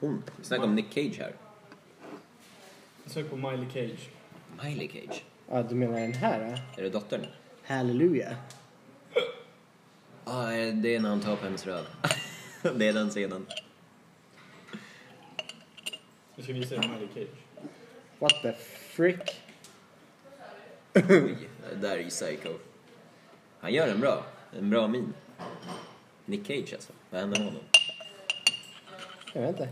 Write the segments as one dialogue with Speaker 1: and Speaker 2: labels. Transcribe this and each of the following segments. Speaker 1: Hon. Vi snackar om Nick Cage här.
Speaker 2: Sök på Miley Cage.
Speaker 1: Miley Cage.
Speaker 3: Ja, du menar den här? eh?
Speaker 1: Är det dottern?
Speaker 3: Halleluja.
Speaker 1: Ja, eh, det är när han tar upp hennes röv. det är den scenen.
Speaker 2: Jag ska visa dig Miley Cage.
Speaker 3: What the frick?
Speaker 1: Oj, det där är ju psycho. Han gör en bra. En bra min. Nick Cage alltså. Vad hände med honom?
Speaker 3: Jag vet inte.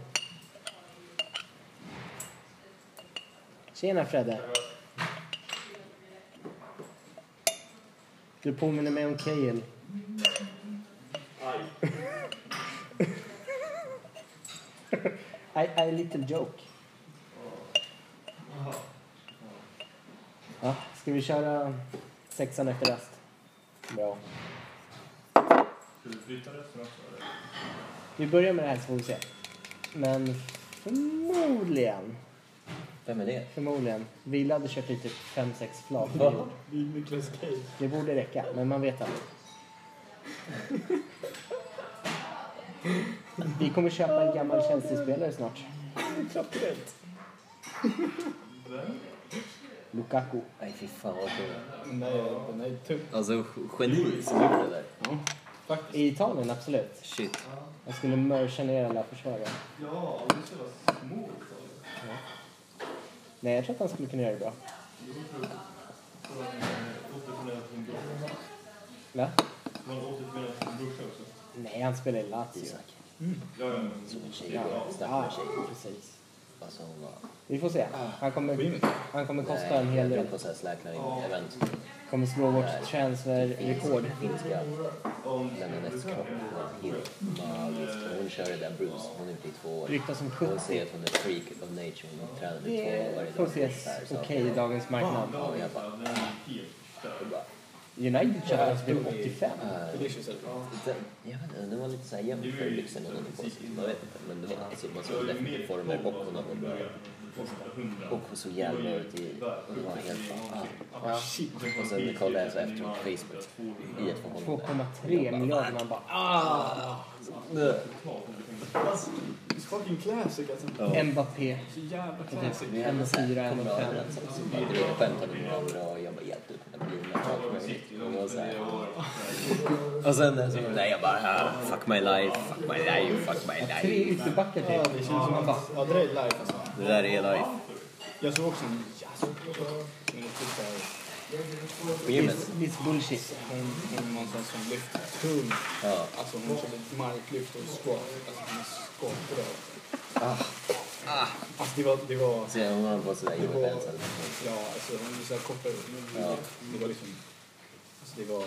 Speaker 3: Tjena Fredde. Du påminner mig om Kael. I, I little joke. Ja, ska vi köra sexan efter rast? Bra.
Speaker 4: Ska vi flytta resten också? eller?
Speaker 3: Vi börjar med det här så får vi se. Men förmodligen
Speaker 1: Vem är det?
Speaker 3: Förmodligen. Villa hade kört i typ 5-6 flak.
Speaker 2: Det är Nicolas Cage.
Speaker 3: Det borde räcka, men man vet aldrig. Vi kommer köpa en gammal Chelsea-spelare snart.
Speaker 2: Klockrent.
Speaker 3: Lukaku.
Speaker 1: Nej fy fan vad kul.
Speaker 2: Den är, den är tuff.
Speaker 1: Alltså geni som gjorde det där.
Speaker 2: Ja, faktiskt.
Speaker 3: I Italien, absolut.
Speaker 1: Shit.
Speaker 3: Jag skulle mörsa ner alla försvarare.
Speaker 4: Ja, det ska vara små Italien.
Speaker 3: Nej, jag tror att han skulle kunna göra det bra.
Speaker 4: Jo, tror jag. Det var en, eh, återförenad till min brorsa.
Speaker 3: Va?
Speaker 4: Det var en återförenad till min brorsa också.
Speaker 3: Nej, han spelar i Lazio.
Speaker 4: Ja, ja, men...
Speaker 3: Ja, ja, precis.
Speaker 1: Alltså hon var...
Speaker 3: Vi får se. Han kommer, han kommer kosta en hel
Speaker 1: Nej, jag
Speaker 3: del.
Speaker 1: tror på såhär slacknar-event.
Speaker 3: Kommer slå vårt transferrekord.
Speaker 1: Finska. Lemonets kropp var helt magisk. Hon kör det där Bruce. Hon är ute i två år.
Speaker 3: Ryktas som
Speaker 1: Hon
Speaker 3: 70.
Speaker 1: säger att hon är freak of nature. Hon tränar med två år
Speaker 3: Det
Speaker 1: varje
Speaker 3: får
Speaker 1: dag.
Speaker 3: ses
Speaker 1: Ungefär, så.
Speaker 3: okej i dagens marknad.
Speaker 4: Ja, jag bara... Den är helt förstörd.
Speaker 3: United alltså köpte hans bil 85.
Speaker 2: Delicious eller?
Speaker 1: Den, jag vet inte, den var lite såhär jämn för lyxen hon hade på sig. Man vet inte, men det var alltså, man såg definitivt former och hon hade bra. Och hon såg jävla ut i... Och det var helt fan... Ah. Och sen kollade jag så efteråt på Facebook. I ett förhållande.
Speaker 3: 2,3 miljarder. Man bara...
Speaker 2: Alltså, it's fucking classic alltså.
Speaker 3: "Ah." Mbappé.
Speaker 2: Så jävla
Speaker 3: Och typ
Speaker 2: classic.
Speaker 3: 1,4,
Speaker 1: Kommer du ihåg
Speaker 3: 1,5.
Speaker 1: den som som bara drev och skämtade med varandra och jag bara hjälpte upp mina bilar och allt möjligt. Och det var så här- Och sen så där jag bara ah, fuck my life, fuck my life, fuck my
Speaker 3: Tre
Speaker 1: life.
Speaker 3: ytterbackar
Speaker 2: Ja,
Speaker 3: till.
Speaker 2: det känns som
Speaker 3: Man
Speaker 2: att...
Speaker 3: bara...
Speaker 2: Ja, det där är live alltså.
Speaker 1: Det där är life.
Speaker 2: Jag såg också en... Jag såg Men det är typ såhär...
Speaker 1: På gymmet.
Speaker 3: This, this bullshit.
Speaker 2: Hon, hon någonstans som lyfter tungt.
Speaker 1: Ja.
Speaker 2: Alltså hon körde ett marklyft och squat. Alltså hon är skapbra. Ah. Alltså det var... Det var
Speaker 1: Så hon har på sådär Joey Benson.
Speaker 2: ja, alltså hon var såhär kortare.
Speaker 1: Ja.
Speaker 2: Det var liksom... Alltså det var...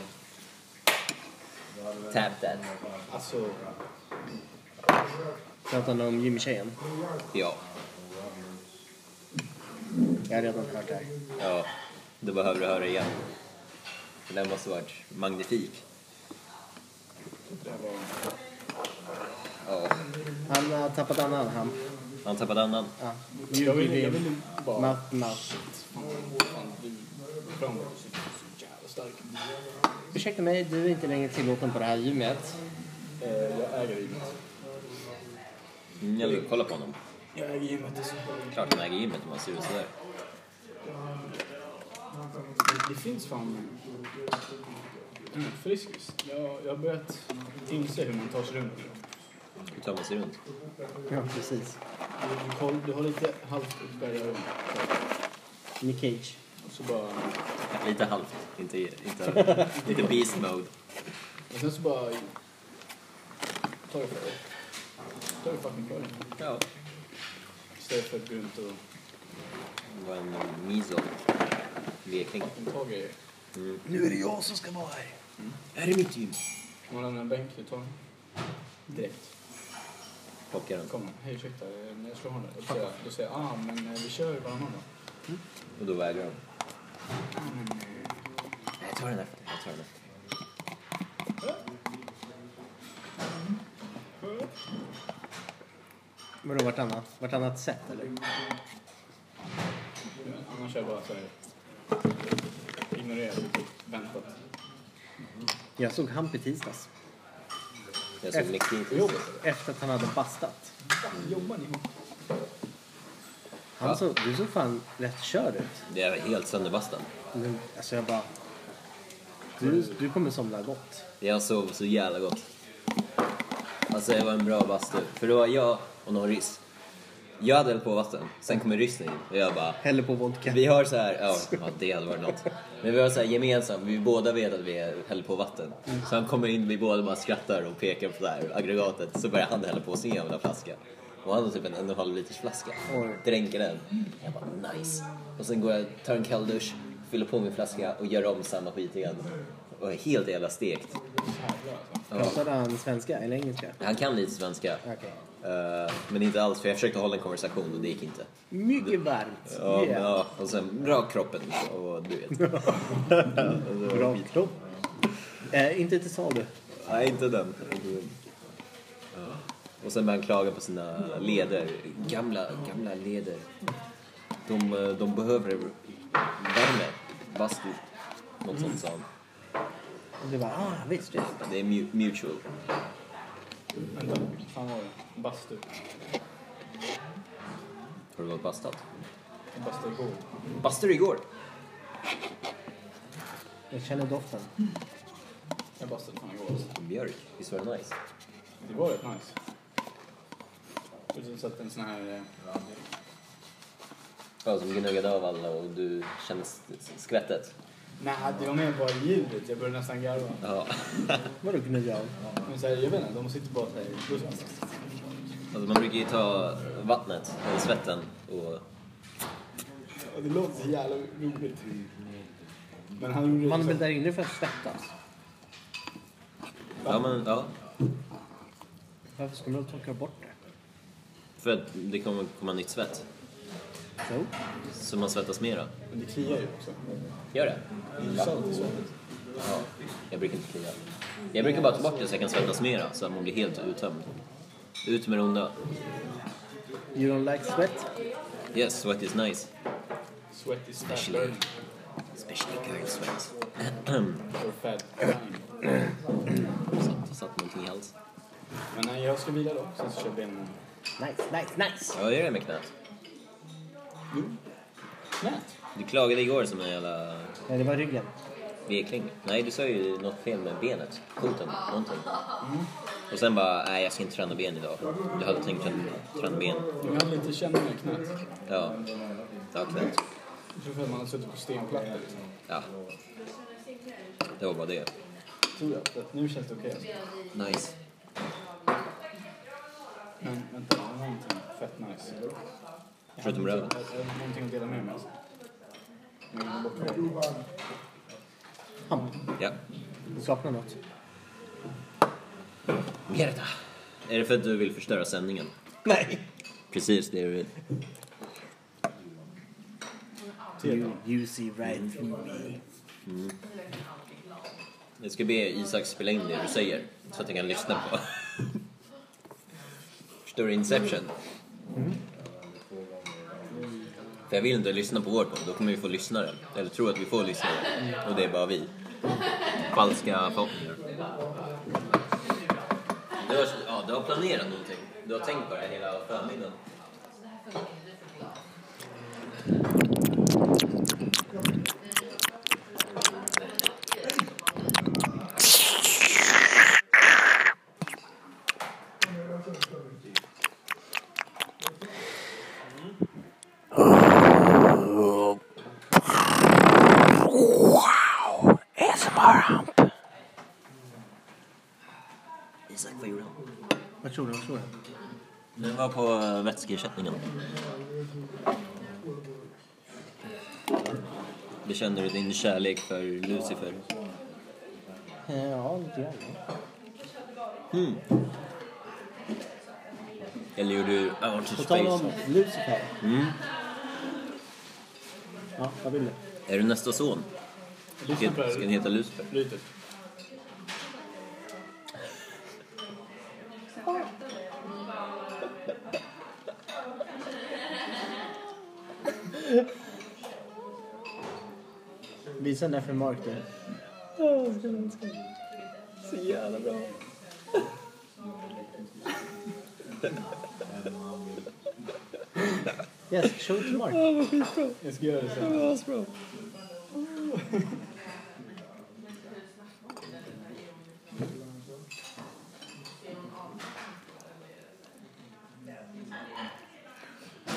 Speaker 1: Tap that.
Speaker 2: Alltså...
Speaker 3: Pratar ni om gymtjejen?
Speaker 1: Ja.
Speaker 3: Jag har redan hört det här.
Speaker 1: Ja. Då behöver du höra igen. Den där måste varit magnifik.
Speaker 2: Det här var...
Speaker 1: Ja.
Speaker 3: Han har tappat annan hand.
Speaker 1: Han tappade andan.
Speaker 3: Ja.
Speaker 2: Jag ville jag vill bara...
Speaker 3: Matt, Matt.
Speaker 2: Fan, du... Fram var så, så jävla stark.
Speaker 3: Ursäkta mig, du är inte längre tillåten på det här gymmet.
Speaker 2: Eh, jag äger gymmet.
Speaker 1: Mm, jag vill kolla på honom.
Speaker 2: Jag äger gymmet alltså.
Speaker 1: Klart han äger gymmet om han ser ut sådär.
Speaker 2: Det, det finns fan... Mm, friskis. Jag, jag har börjat inse hur man tar sig runt.
Speaker 1: Hur tar man sig runt?
Speaker 3: Ja, precis.
Speaker 2: Du, du, koll, du har lite halvt uppbärgare rum.
Speaker 3: Nick Cage.
Speaker 2: Och så bara...
Speaker 1: Lite halvt. Inte, inte, lite beast mode.
Speaker 2: Och sen så bara... Tar du för dig. Tar du fucking för dig.
Speaker 1: Ja.
Speaker 2: Istället för att gå runt och
Speaker 1: Det var en miso. Lekling.
Speaker 2: fucking ta grejer.
Speaker 1: Nu är det jag som ska vara här. Här är mitt gym.
Speaker 2: Om man lämnar en bänk, du tar den. Direkt.
Speaker 1: Plockar den.
Speaker 2: Kom, hej ursäkta, eh, när jag slår honom. Då säger jag, då säger jag, ah men eh, vi kör varannan då.
Speaker 1: Och då vägrar de. Nej, Jag tar den efter. Jag tar den efter.
Speaker 3: Vadå vartannat? Vartannat set eller?
Speaker 2: Annars kör jag bara såhär... Ignorerar, typ, väntat.
Speaker 3: Jag såg han på tisdags.
Speaker 1: Jag såg
Speaker 3: Efter-
Speaker 1: mycket kritiskt
Speaker 3: Jo,
Speaker 1: på det.
Speaker 3: efter att han hade bastat.
Speaker 2: Jobbar ni ihop?
Speaker 3: Han såg, du såg fan rätt körd ut.
Speaker 1: Det är helt sönderbastad.
Speaker 3: Men, alltså jag bara... Du, du kommer somna gott.
Speaker 1: Jag sov så jävla gott. Alltså det var en bra bastu. För det var jag och någon ryss. Jag hade hällt på vatten, sen kommer ryssen in och jag bara
Speaker 3: Häller på vodka.
Speaker 1: Vi har så här, ja ja, det hade varit något. Men vi har så här gemensamt, vi båda vet att vi häller på vatten. Så han kommer in, vi båda bara skrattar och pekar på det här aggregatet. Så börjar han hälla på sin jävla flaska. Och han har typ en en och en halv liters flaska.
Speaker 3: Oj.
Speaker 1: Dränker den. Jag bara nice. Och sen går jag, tar en kall dusch, fyller på min flaska och gör om samma skit igen. Och är helt jävla stekt. Ja.
Speaker 3: Pratade han svenska eller engelska?
Speaker 1: Han kan lite svenska.
Speaker 3: Okej.
Speaker 1: eh, Men inte alls, för jag försökte hålla en konversation och det gick inte.
Speaker 3: Mycket varmt.
Speaker 1: Ja, men
Speaker 3: Yeah.
Speaker 1: ja. Och sen bra kroppen och du vet.
Speaker 3: Bra kropp. Eh, inte till salu.
Speaker 1: Nej, inte den. Inte den. Och sen började han klaga på sina leder. Gamla, gamla leder. De, eh, de behöver värme. Bastu. Något sånt sa han.
Speaker 3: Och du bara, ah visst, visst.
Speaker 1: Det är mu- mutual.
Speaker 2: Vänta, fan var det? Bastu.
Speaker 1: Har du varit bastat?
Speaker 2: Jag bastade igår.
Speaker 1: Bastade igår?
Speaker 3: Jag känner doften.
Speaker 2: Jag bastade fan igår alltså.
Speaker 1: Mjölk. Visst var det nice?
Speaker 2: Det var rätt nice. Och sen satt en sån här... eh,
Speaker 1: Ja, som gnuggade av alla och du kände s- skvättet.
Speaker 2: Nej, det var mer bara ljudet. Jag började nästan garva.
Speaker 1: Ja.
Speaker 3: Vadå gnugga av?
Speaker 2: Men så här, jag vet inte, de sitter bara såhär...
Speaker 1: Alltså man brukar ju ta vattnet, eller svetten och...
Speaker 2: Det låter så jävla roligt. Men han gjorde
Speaker 3: Man är väl
Speaker 2: det liksom-
Speaker 3: där inne för att svettas?
Speaker 1: Ja, men ja.
Speaker 3: Varför ska man då torka bort det?
Speaker 1: För att det kommer komma nytt svett.
Speaker 3: Jo.
Speaker 1: Så man svettas mera.
Speaker 2: Men det kliar ju också.
Speaker 1: Gör det?
Speaker 2: Det är ju salt i svettet.
Speaker 1: Ja. Jag brukar inte klia. Jag brukar bara ta bort det så jag kan svettas mera så att man blir helt uttömd. Ut med det onda.
Speaker 3: You don't like sweat?
Speaker 1: Yes, sweat is nice.
Speaker 2: Sweat is fat
Speaker 1: Especially.
Speaker 2: burning.
Speaker 1: Especially girl sweat.
Speaker 2: Or fat burning.
Speaker 1: satt, satt någonting i halsen.
Speaker 2: Men nej, jag ska vila då. Sen så kör benen...
Speaker 3: Nice, nice, nice!
Speaker 1: Ja, gör det med knät.
Speaker 2: Jo. Knät.
Speaker 1: Du klagade igår som en jävla
Speaker 3: Nej, det var ryggen.
Speaker 1: vekling. Nej, du sa ju något fel med benet. Foten, någonting. Och sen bara, nej jag ska inte träna ben idag. Du hade tänkt träna, träna ben.
Speaker 2: Jag hade lite känning i knät.
Speaker 1: Ja. Ja, knät.
Speaker 2: Jag tror för att man har suttit på stenplattor. liksom.
Speaker 1: Ja. Det var bara det.
Speaker 2: Tror jag. Så att nu känns det okej. alltså.
Speaker 1: Nice.
Speaker 2: Men vänta, det var någonting fett nice. Jag
Speaker 1: Förutom
Speaker 2: hade-
Speaker 1: röven.
Speaker 2: Jag hade någonting att dela med mig alltså. Men jag glömde bort det.
Speaker 3: Han,
Speaker 1: Ja.
Speaker 3: du saknar något.
Speaker 1: Mierda. Är det för att du vill förstöra sändningen?
Speaker 3: Nej!
Speaker 1: Precis det du vill.
Speaker 3: You, you see right through me.
Speaker 1: Jag ska be Isak spela in det du säger så att jag kan lyssna på. Förstår du Inception? För jag vill inte lyssna på vår podd, då kommer vi få lyssnare. Eller tro att vi får lyssnare. Och det är bara vi. Falska förhoppningar. Du har, ja, du har planerat någonting. Du har tänkt på det här hela förmiddagen. Isak, vad gjorde han?
Speaker 3: Vad tror du? Vad tror du?
Speaker 1: Den var på eh, vätskeersättningen. Bekänner du din kärlek för Lucifer?
Speaker 3: Eh, Ja, lite grann.
Speaker 1: Eller gjorde du Out
Speaker 3: På
Speaker 1: of
Speaker 3: tal
Speaker 1: Space?
Speaker 3: om Lucifer. Ah, Ja, vad vill du?
Speaker 1: Är du nästa son? Ska,
Speaker 2: Lyssna på det
Speaker 1: ska den
Speaker 2: här
Speaker 1: heta Lucifer?
Speaker 2: flytet.
Speaker 3: Visa den där för Oh, Mark du.
Speaker 1: Så jävla bra.
Speaker 3: Yes, show it to Mark.
Speaker 2: Jag ska göra det sen.
Speaker 1: var asbra.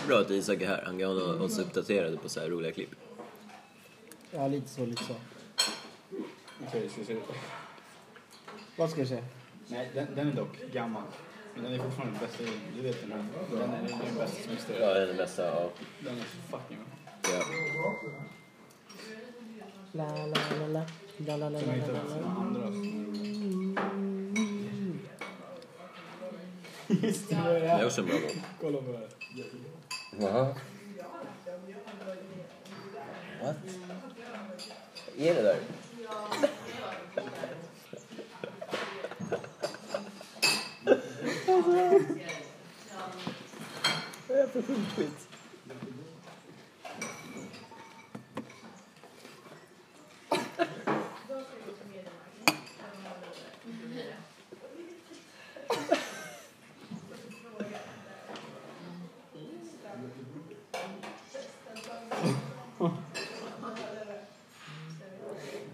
Speaker 1: Bra att Isak är här. Han kan hålla oss uppdaterade på så här roliga klipp.
Speaker 3: Ja, lite så, lite så.
Speaker 2: Okej, ska vi se.
Speaker 3: Vad ska du säga?
Speaker 2: Nej, den, den är dock gammal. Men den är fortfarande den bästa. Du vet den här. Den är den är den bästa som
Speaker 1: Ja,
Speaker 2: existerar.
Speaker 1: det är den bästa. Ja.
Speaker 2: Den är så fucking bra.
Speaker 1: Ja.
Speaker 3: La, la, la, la. La, la, la, la,
Speaker 2: Sen har jag
Speaker 3: la,
Speaker 2: hittat
Speaker 3: la,
Speaker 2: sina
Speaker 3: la.
Speaker 2: andra som är roliga.
Speaker 3: Just det, det
Speaker 1: Det
Speaker 3: är
Speaker 1: är
Speaker 3: det.
Speaker 1: också en bra låt.
Speaker 2: Kolla på det här.
Speaker 1: Jaha. What? Vad är det där? Vad är det för sjukskit?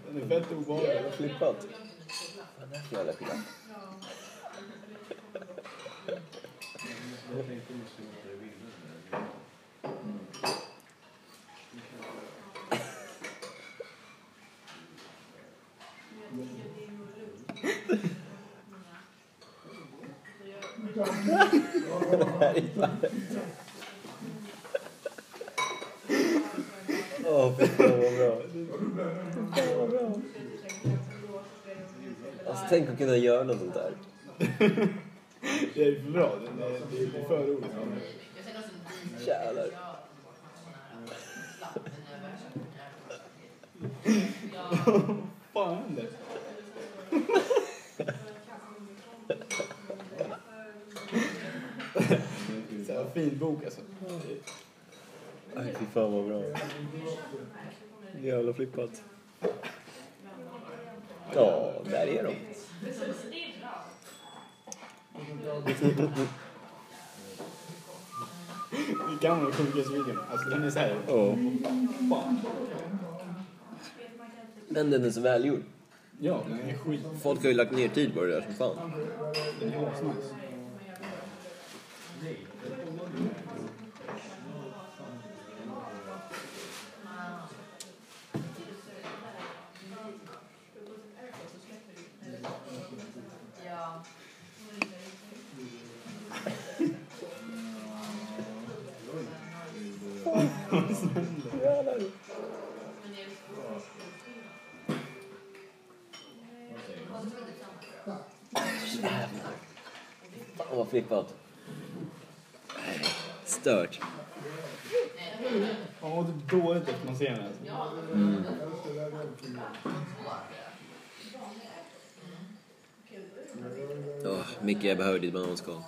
Speaker 2: Den är fett obehaglig.
Speaker 1: Flippat. Vad är det för jävla skillnad? Åh, fy fan vad bra. Fan vad bra. Alltså, tänk att kunna göra något sånt där.
Speaker 2: Det är för bra. Den är, det är för roligt.
Speaker 1: Jävlar.
Speaker 2: Vad fan händer? Så här, fin bok alltså.
Speaker 1: Nej, fy fan vad bra. Jävla flippat. Ja, där är de.
Speaker 2: Det kan vara sjukaste videon. Alltså den är så här.
Speaker 1: Ja. Men den är så välgjord.
Speaker 2: Ja, den är skit.
Speaker 1: Folk har ju lagt ner tid på det där som fan.
Speaker 2: Den är asnice.
Speaker 1: Jävlar. Fan vad flippat. Nej, Stört.
Speaker 2: Man mår typ dåligt efter man ser den. Alltså.
Speaker 1: Mm. Åh, Micke, jag behöver ditt bananskal.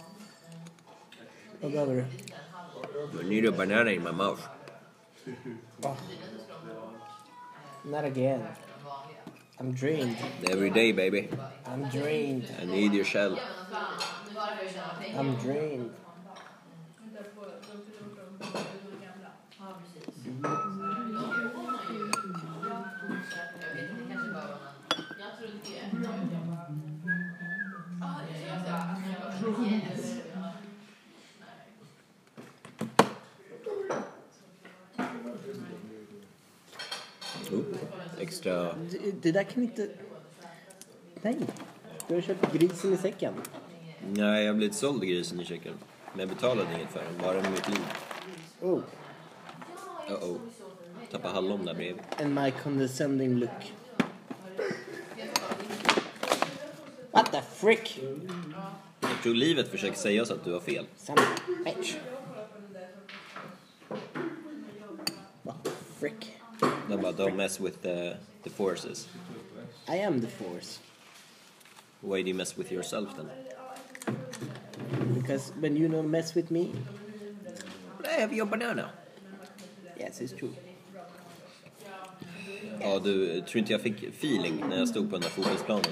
Speaker 3: Vad behöver du?
Speaker 1: I need a banana in my mouth.
Speaker 3: Not again. I'm drained.
Speaker 1: Every day baby.
Speaker 3: I'm drained.
Speaker 1: I need your shell.
Speaker 3: I'm drained.
Speaker 1: Oh, extra...
Speaker 3: Det, det där kan inte... Nej. Du har köpt grisen i säcken.
Speaker 1: Nej, jag blev såld grisen i Tjeckien. Men jag betalade inget för den, bara med mitt liv.
Speaker 3: Oh.
Speaker 1: Uh-oh. Tappa hallon där bredvid.
Speaker 3: And my condescending look. What the frick?
Speaker 1: Jag tror livet försöker säga oss att du har fel.
Speaker 3: Son of a bitch. What the frick?
Speaker 1: De bara, don't mess with the, the forces.
Speaker 3: I am the force.
Speaker 1: Why do you mess with yourself then?
Speaker 3: Because when you don't mess with me,
Speaker 1: I have your banana.
Speaker 3: yes it's true.
Speaker 1: Ja, du, tror inte jag fick feeling när jag stod på den där fotbollsplanen?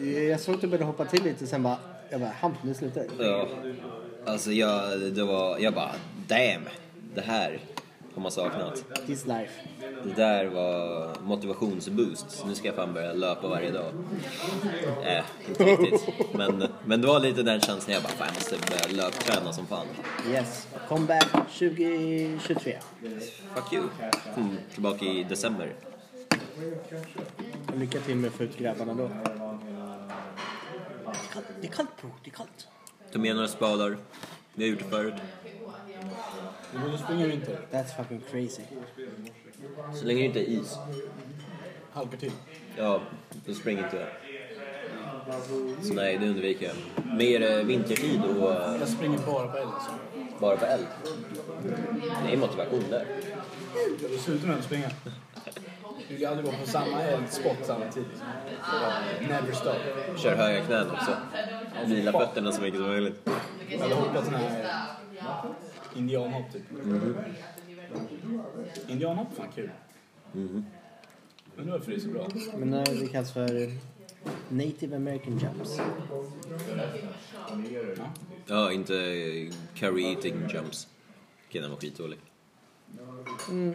Speaker 3: Eh, Jag såg att du började hoppa till lite sen bara... Jag bara, Hampus nu slutar det.
Speaker 1: Ja. Alltså jag, det var, jag bara damn, det här har man saknat.
Speaker 3: This life.
Speaker 1: Det där var motivationsboost. Så nu ska jag fan börja löpa varje dag. Äh, inte riktigt. Men, men det var lite den känslan jag bara, fan jag måste börja löpträna som fan.
Speaker 3: Yes. Comeback 2023.
Speaker 1: Fuck you. Kom tillbaka i december.
Speaker 3: Lycka till med att få ut grabbarna då. Det är kallt, det är kallt bro. Det är kallt.
Speaker 1: Ta med några spadar. Vi har gjort det förut.
Speaker 2: Du borde springa i vinter.
Speaker 3: That's fucking crazy.
Speaker 1: Så länge det inte är is,
Speaker 2: Halkar till.
Speaker 1: ja, då springer inte jag. Så nej, det undviker jag. Mer eh, vintertid och eh,
Speaker 2: Jag springer bara på eld alltså.
Speaker 1: bara på eld. Det är motivation där.
Speaker 2: Jag slutar med att springa. Du kan aldrig vara på samma eldspot samtidigt. Never stop.
Speaker 1: Kör höga knän också. Vila fötterna så mycket som möjligt.
Speaker 2: Jag hade hoppat sån här indianhopp typ. Indianhopp, fan kul. Undrar varför det är så bra.
Speaker 3: Men eh, det kallas för native american jumps.
Speaker 1: Ja, inte eh, curry eating jumps. Okej, den var skitdålig. Mm.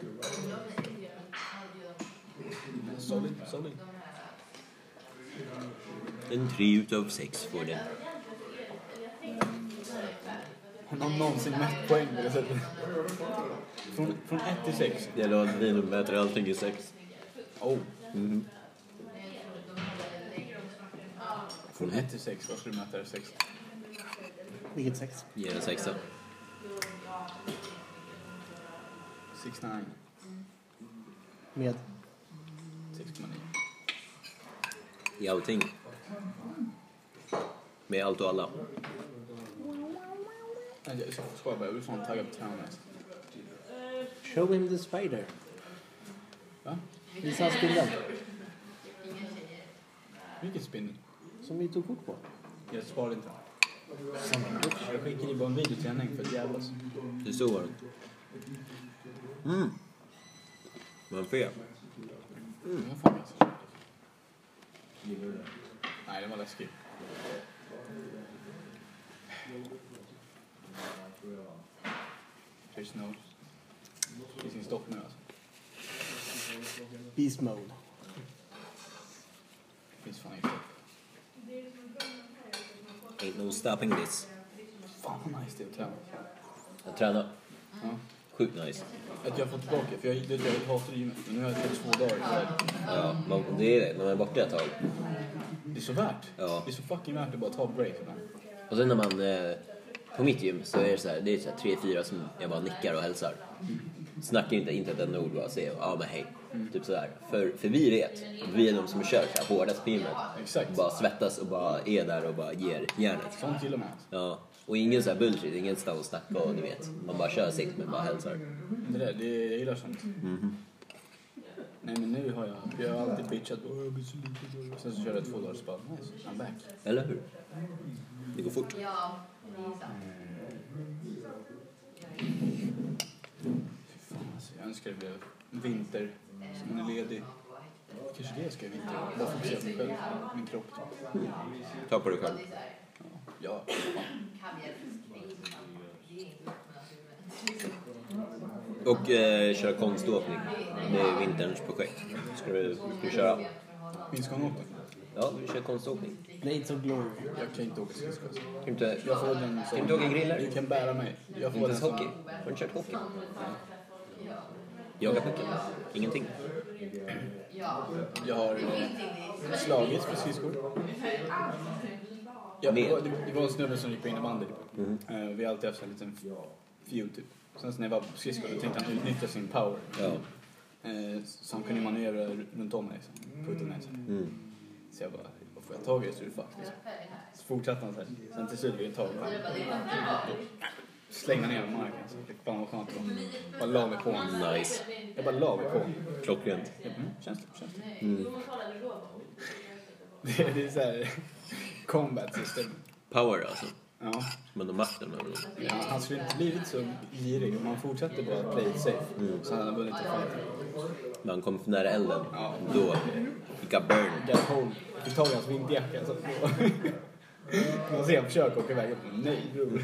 Speaker 2: Solid, solid.
Speaker 1: En tre utav sex får den.
Speaker 2: Har någon någonsin mätt poäng på det sättet? Från, från 1 till 6?
Speaker 1: Det är då att vi mäter allting i sex. Mm.
Speaker 2: Oh.
Speaker 1: Från
Speaker 2: 1
Speaker 1: ett
Speaker 2: till 6, vad ska du mäta det? 6?
Speaker 3: Vilket sex.
Speaker 1: ger en sexa.
Speaker 2: 6,9.
Speaker 3: Med.
Speaker 2: 6,9.
Speaker 1: I allting. Med allt och alla.
Speaker 2: Nej, Jag skojar bara, jag blir fan taggad på att träna mest.
Speaker 3: Show him the spider.
Speaker 2: Va?
Speaker 3: Visa hans bilden.
Speaker 2: Vilken spindel?
Speaker 3: Som vi tog kort på.
Speaker 2: Jag svarar inte. Jag skickade ju bara en video till henne för att jävlas.
Speaker 1: Det är så var det. Mm. Men fel.
Speaker 2: Mm. Vad fan alltså? Nej, det var läskigt. Chris knows. Det finns stopp nu alltså.
Speaker 3: Beast mode.
Speaker 2: Det finns fan inget stopp.
Speaker 1: Ain't no stopping this.
Speaker 2: Fan vad nice det är att träna.
Speaker 1: Jag tränar.
Speaker 2: Ja.
Speaker 1: Sjukt nice.
Speaker 2: Att jag har fått tillbaka, för jag, vet, du, jag hatar gymmet. Men nu har jag tagit två dagar i rad.
Speaker 1: Ja, man, det är det. När man är borta ett tag.
Speaker 2: Det är så värt.
Speaker 1: Ja.
Speaker 2: Det är så fucking värt att bara ta break ibland.
Speaker 1: Och sen när man... Eh, på mitt gym så är det så här, det är så här tre, fyra som jag bara nickar och hälsar. Snackar inte, inte ett enda ord bara säger ja men hej. Typ sådär. För, för vi vet, vi är de som kör så här, hårdast på gymmet.
Speaker 2: Exakt.
Speaker 1: Bara svettas och bara är där och bara ger järnet.
Speaker 2: Sånt gillar man alltså.
Speaker 1: Ja. Och ingen så här bullshit, ingen stå och snacka och du vet. Man bara kör sitt men bara hälsar.
Speaker 2: Det där, det, jag gillar sånt. Nej men nu har jag, jag har alltid bitchat på jag blir så lite Sen så körde jag två dagar och så bara nice, I'm back.
Speaker 1: Eller hur? Det går fort.
Speaker 2: Fy fan alltså, jag önskar det blev vinter, så man är ledig. Kanske det jag ska göra i vinter, bara fokusera på mig själv, min kropp. typ.
Speaker 1: Ta på dig själv.
Speaker 2: Ja,
Speaker 1: Och eh, köra konståkning. Det är vinterns projekt. Ska du, ska du köra?
Speaker 2: minns hon åt
Speaker 1: Ja, vi kör konståkning.
Speaker 3: Blades of glory.
Speaker 2: Jag kan inte åka skridskor alltså.
Speaker 1: Kan inte...
Speaker 2: Jag får den
Speaker 1: Kan inte åka grillar?
Speaker 2: Du kan bära mig. Jag får
Speaker 1: Inte
Speaker 2: den
Speaker 1: ens
Speaker 2: som...
Speaker 1: hockey? Har du kört hockey? Jaga pucken? Ingenting?
Speaker 2: Jag har eh, slagits med skridskor. Ja, det, var, det var en snubbe som gick på innebandy. Eh, Vi har alltid haft en liten feud typ. Sen så när jag var på skridskor då tänkte han utnyttja sin power.
Speaker 1: Ja.
Speaker 2: Eh, Så han kunde manövrera r- runt om mig. liksom. Putta mig. liksom.
Speaker 1: Mm.
Speaker 2: Så jag bara, "Vad får jag tag i det så är det fuck. Liksom. Så fortsatte han så här. Sen till slut blev jag tagen. Slängde ner mig på marken. Så fick fan vad skönt det var. Bara la mig på honom.
Speaker 1: Nice.
Speaker 2: Jag bara la mig på honom.
Speaker 1: Klockrent.
Speaker 2: Jag bara, "Mm, Känns det? Känns det? Det är, det är så här combat system.
Speaker 1: Power alltså.
Speaker 2: Ja.
Speaker 1: Men de makten över dem.
Speaker 2: Ja, Han skulle inte blivit så girig om han fortsatte bara att play it safe. Så hade han vunnit i fighten.
Speaker 1: När han kom för nära elden,
Speaker 2: Ja.
Speaker 1: då... Fick jag burn.
Speaker 2: Got hold. Fick tag i hans vinterjacka. så- Man ser han försöker åka iväg. Jag bara, nej bror.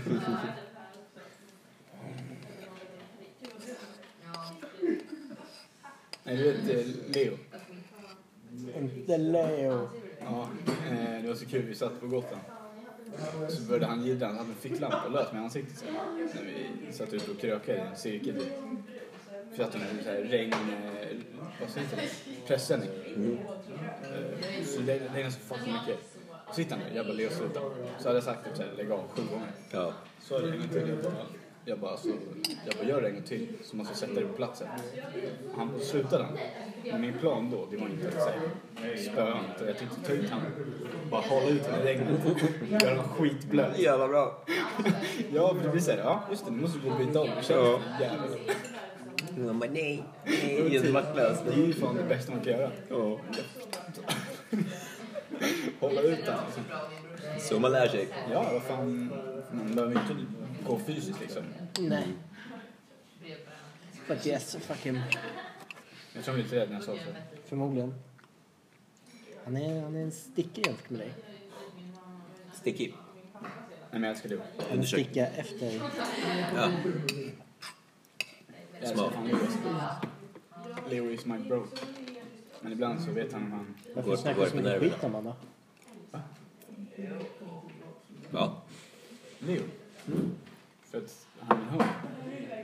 Speaker 2: Nej, du vet eh, Leo.
Speaker 3: Inte Leo.
Speaker 2: Ja, eh, det var så kul. Vi satt på Gotland. Så började han jiddra. Han hade en ficklampa lös med ansiktet. Så. När vi satt ute och krökade i en cirkel. dit. Vi satt under så här regn... eh, Vad säger det? Pressändning. Eh, Så det regnade så fucking mycket. Så sitter han där. Jag bara, Leo sluta. Så hade jag sagt typ så här, lägg av sju gånger.
Speaker 1: Ja.
Speaker 2: Så är det en gång till. Jag bara, alltså, jag bara gör det en gång till så man ska sätta det på platsen. Han slutade han. Men min plan då, det var inte att säga spöa honom. utan Jag tänkte ta ut honom. Bara hålla ut honom i regnet. Göra honom skitblöt.
Speaker 1: Jävla bra.
Speaker 2: Ja, precis. så här, Ja, just det. Nu måste vi gå och byta om.
Speaker 1: Ja.
Speaker 2: Ja.
Speaker 1: Han bara nej, nej. Helt maktlös.
Speaker 2: Det är ju fan det bästa man kan göra.
Speaker 1: Ja.
Speaker 2: Hålla ut honom. Alltså.
Speaker 1: Så man lär sig.
Speaker 2: Ja, vad fan. Man behöver ju inte gå fysiskt liksom.
Speaker 3: Nej. But yes, fucking.
Speaker 2: Jag tror inte det när jag sa så.
Speaker 3: Förmodligen. Han är, han är en stickig jämfört med dig.
Speaker 1: Sticky.
Speaker 2: Nej, men jag älskar Leo.
Speaker 3: En
Speaker 1: Undersök.
Speaker 3: sticka efter.
Speaker 1: Ja.
Speaker 2: Jag älskar
Speaker 1: Smart.
Speaker 2: fan Leo. Leo is my bro. Men ibland så vet han om han...
Speaker 1: Går-
Speaker 3: Varför
Speaker 1: går
Speaker 3: snackar du så
Speaker 1: på
Speaker 3: mycket
Speaker 1: nerverna.
Speaker 3: skit om honom då?
Speaker 1: Ja.
Speaker 2: Leo? För att han är en hund.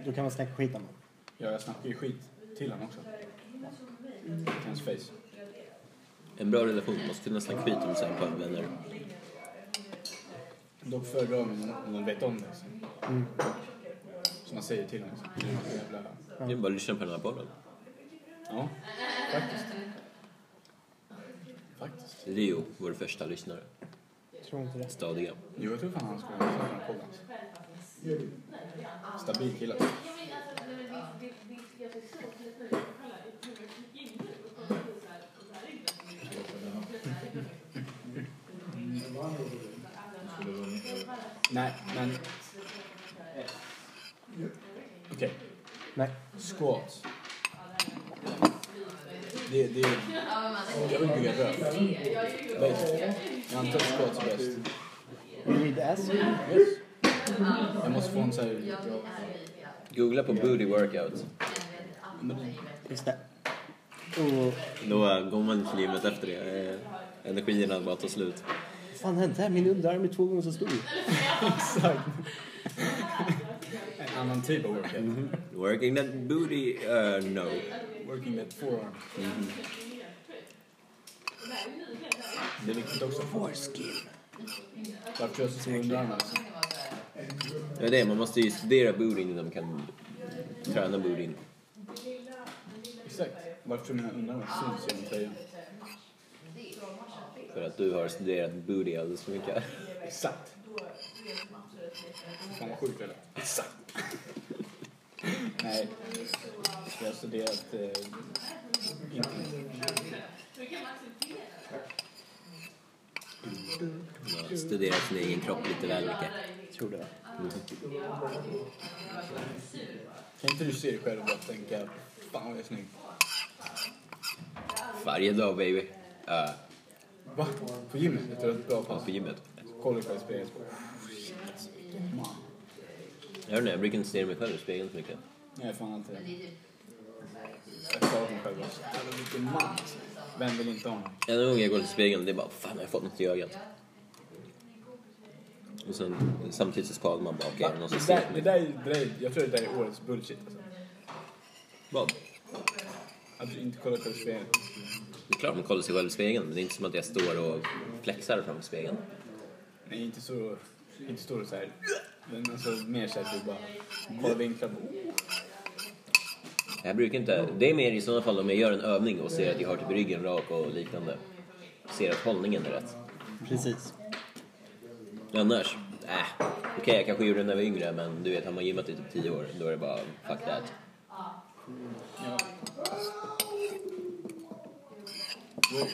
Speaker 3: Då kan man snacka skit om honom.
Speaker 2: Ja, jag snackar ju skit till honom också. Till hans face.
Speaker 1: En bra relation måste kunna snacka skit om sina pojkvänner.
Speaker 2: Dock föredrar man om de vet om det. Så.
Speaker 3: Mm.
Speaker 2: Som man säger till honom. Så. Jävla...
Speaker 1: Det är bara att lyssna på den här podden.
Speaker 2: Ja, faktiskt. Faktiskt.
Speaker 1: Leo, vår första lyssnare.
Speaker 3: Tror inte det.
Speaker 1: Stadiga.
Speaker 2: Jo, jag tror fan han skulle ha lyssnat på den här podden. alltså. Stabil kille. Nej, men... Okej.
Speaker 3: Nej.
Speaker 2: Squats. Det, det, jag vill bygga röv. Bäst. Jag antar att squats är bäst.
Speaker 3: Read ass.
Speaker 2: Yes. Jag måste få en så här...
Speaker 1: Googla på booty workout.
Speaker 2: Men,
Speaker 3: Just det. Och
Speaker 1: Då eh, går man till gymmet efter det. Eh, Energierna bara tar slut.
Speaker 3: vad fan hände här? Min underarm är två gånger så stor.
Speaker 2: exakt. En annan typ av workout.
Speaker 1: Working that booty, uh, no.
Speaker 2: Working med forearm. Det är viktigt också. Foreskin. Varför tror jag så stor underarm alltså?
Speaker 1: Det är det, man måste ju studera bootyn innan man kan träna bootyn.
Speaker 2: Exakt. Varför tror mina underarmar syns genom tröjan?
Speaker 1: För att du har studerat booty alldeles för mycket.
Speaker 2: Exakt. Fan vad sjukt eller? Exakt. Nej. Jag har studerat eh, internet.
Speaker 1: Man har studerat sin egen kropp lite väl mycket.
Speaker 3: Tror det.
Speaker 2: Kan inte du se dig själv och bara tänka fan vad jag är snygg?
Speaker 1: Varje dag baby. Uh,
Speaker 2: Va? På gymmet? Jag tror att det är ett bra
Speaker 1: ja,
Speaker 2: pass.
Speaker 1: på gymmet.
Speaker 2: Kolla på spelet.
Speaker 1: Jag vet inte, jag brukar inte studera mig själv i spegeln så mycket.
Speaker 2: Nej fan inte det. Jag klarar mig själv också. Jävlar, Vilken man alltså. Vem vill inte ha honom?
Speaker 1: En gång jag går till spegeln, det är bara fan jag har fått något i ögat. Och sen samtidigt så spanar man bara okej, är det någon som
Speaker 2: Det
Speaker 1: ser
Speaker 2: där,
Speaker 1: på
Speaker 2: det
Speaker 1: mig?
Speaker 2: där, är- det där, är- jag tror det där är årets bullshit alltså.
Speaker 1: Vad?
Speaker 2: Att du inte kollar själv i spegeln.
Speaker 1: Det är klart man kollar sig själv i spegeln, men det är inte som att jag står och flexar framför spegeln.
Speaker 2: Nej inte så, inte så så här. Men alltså mer så att du bara kollar vinklar.
Speaker 1: Jag brukar inte, det är mer i sådana fall om jag gör en övning och ser att jag har typ ryggen rak och liknande. Ser att hållningen är rätt.
Speaker 3: Precis.
Speaker 1: Annars, äh, okej jag kanske gjorde det när jag var yngre men du vet har man gymmat i typ 10 år då är det bara fuck that.
Speaker 2: Wow.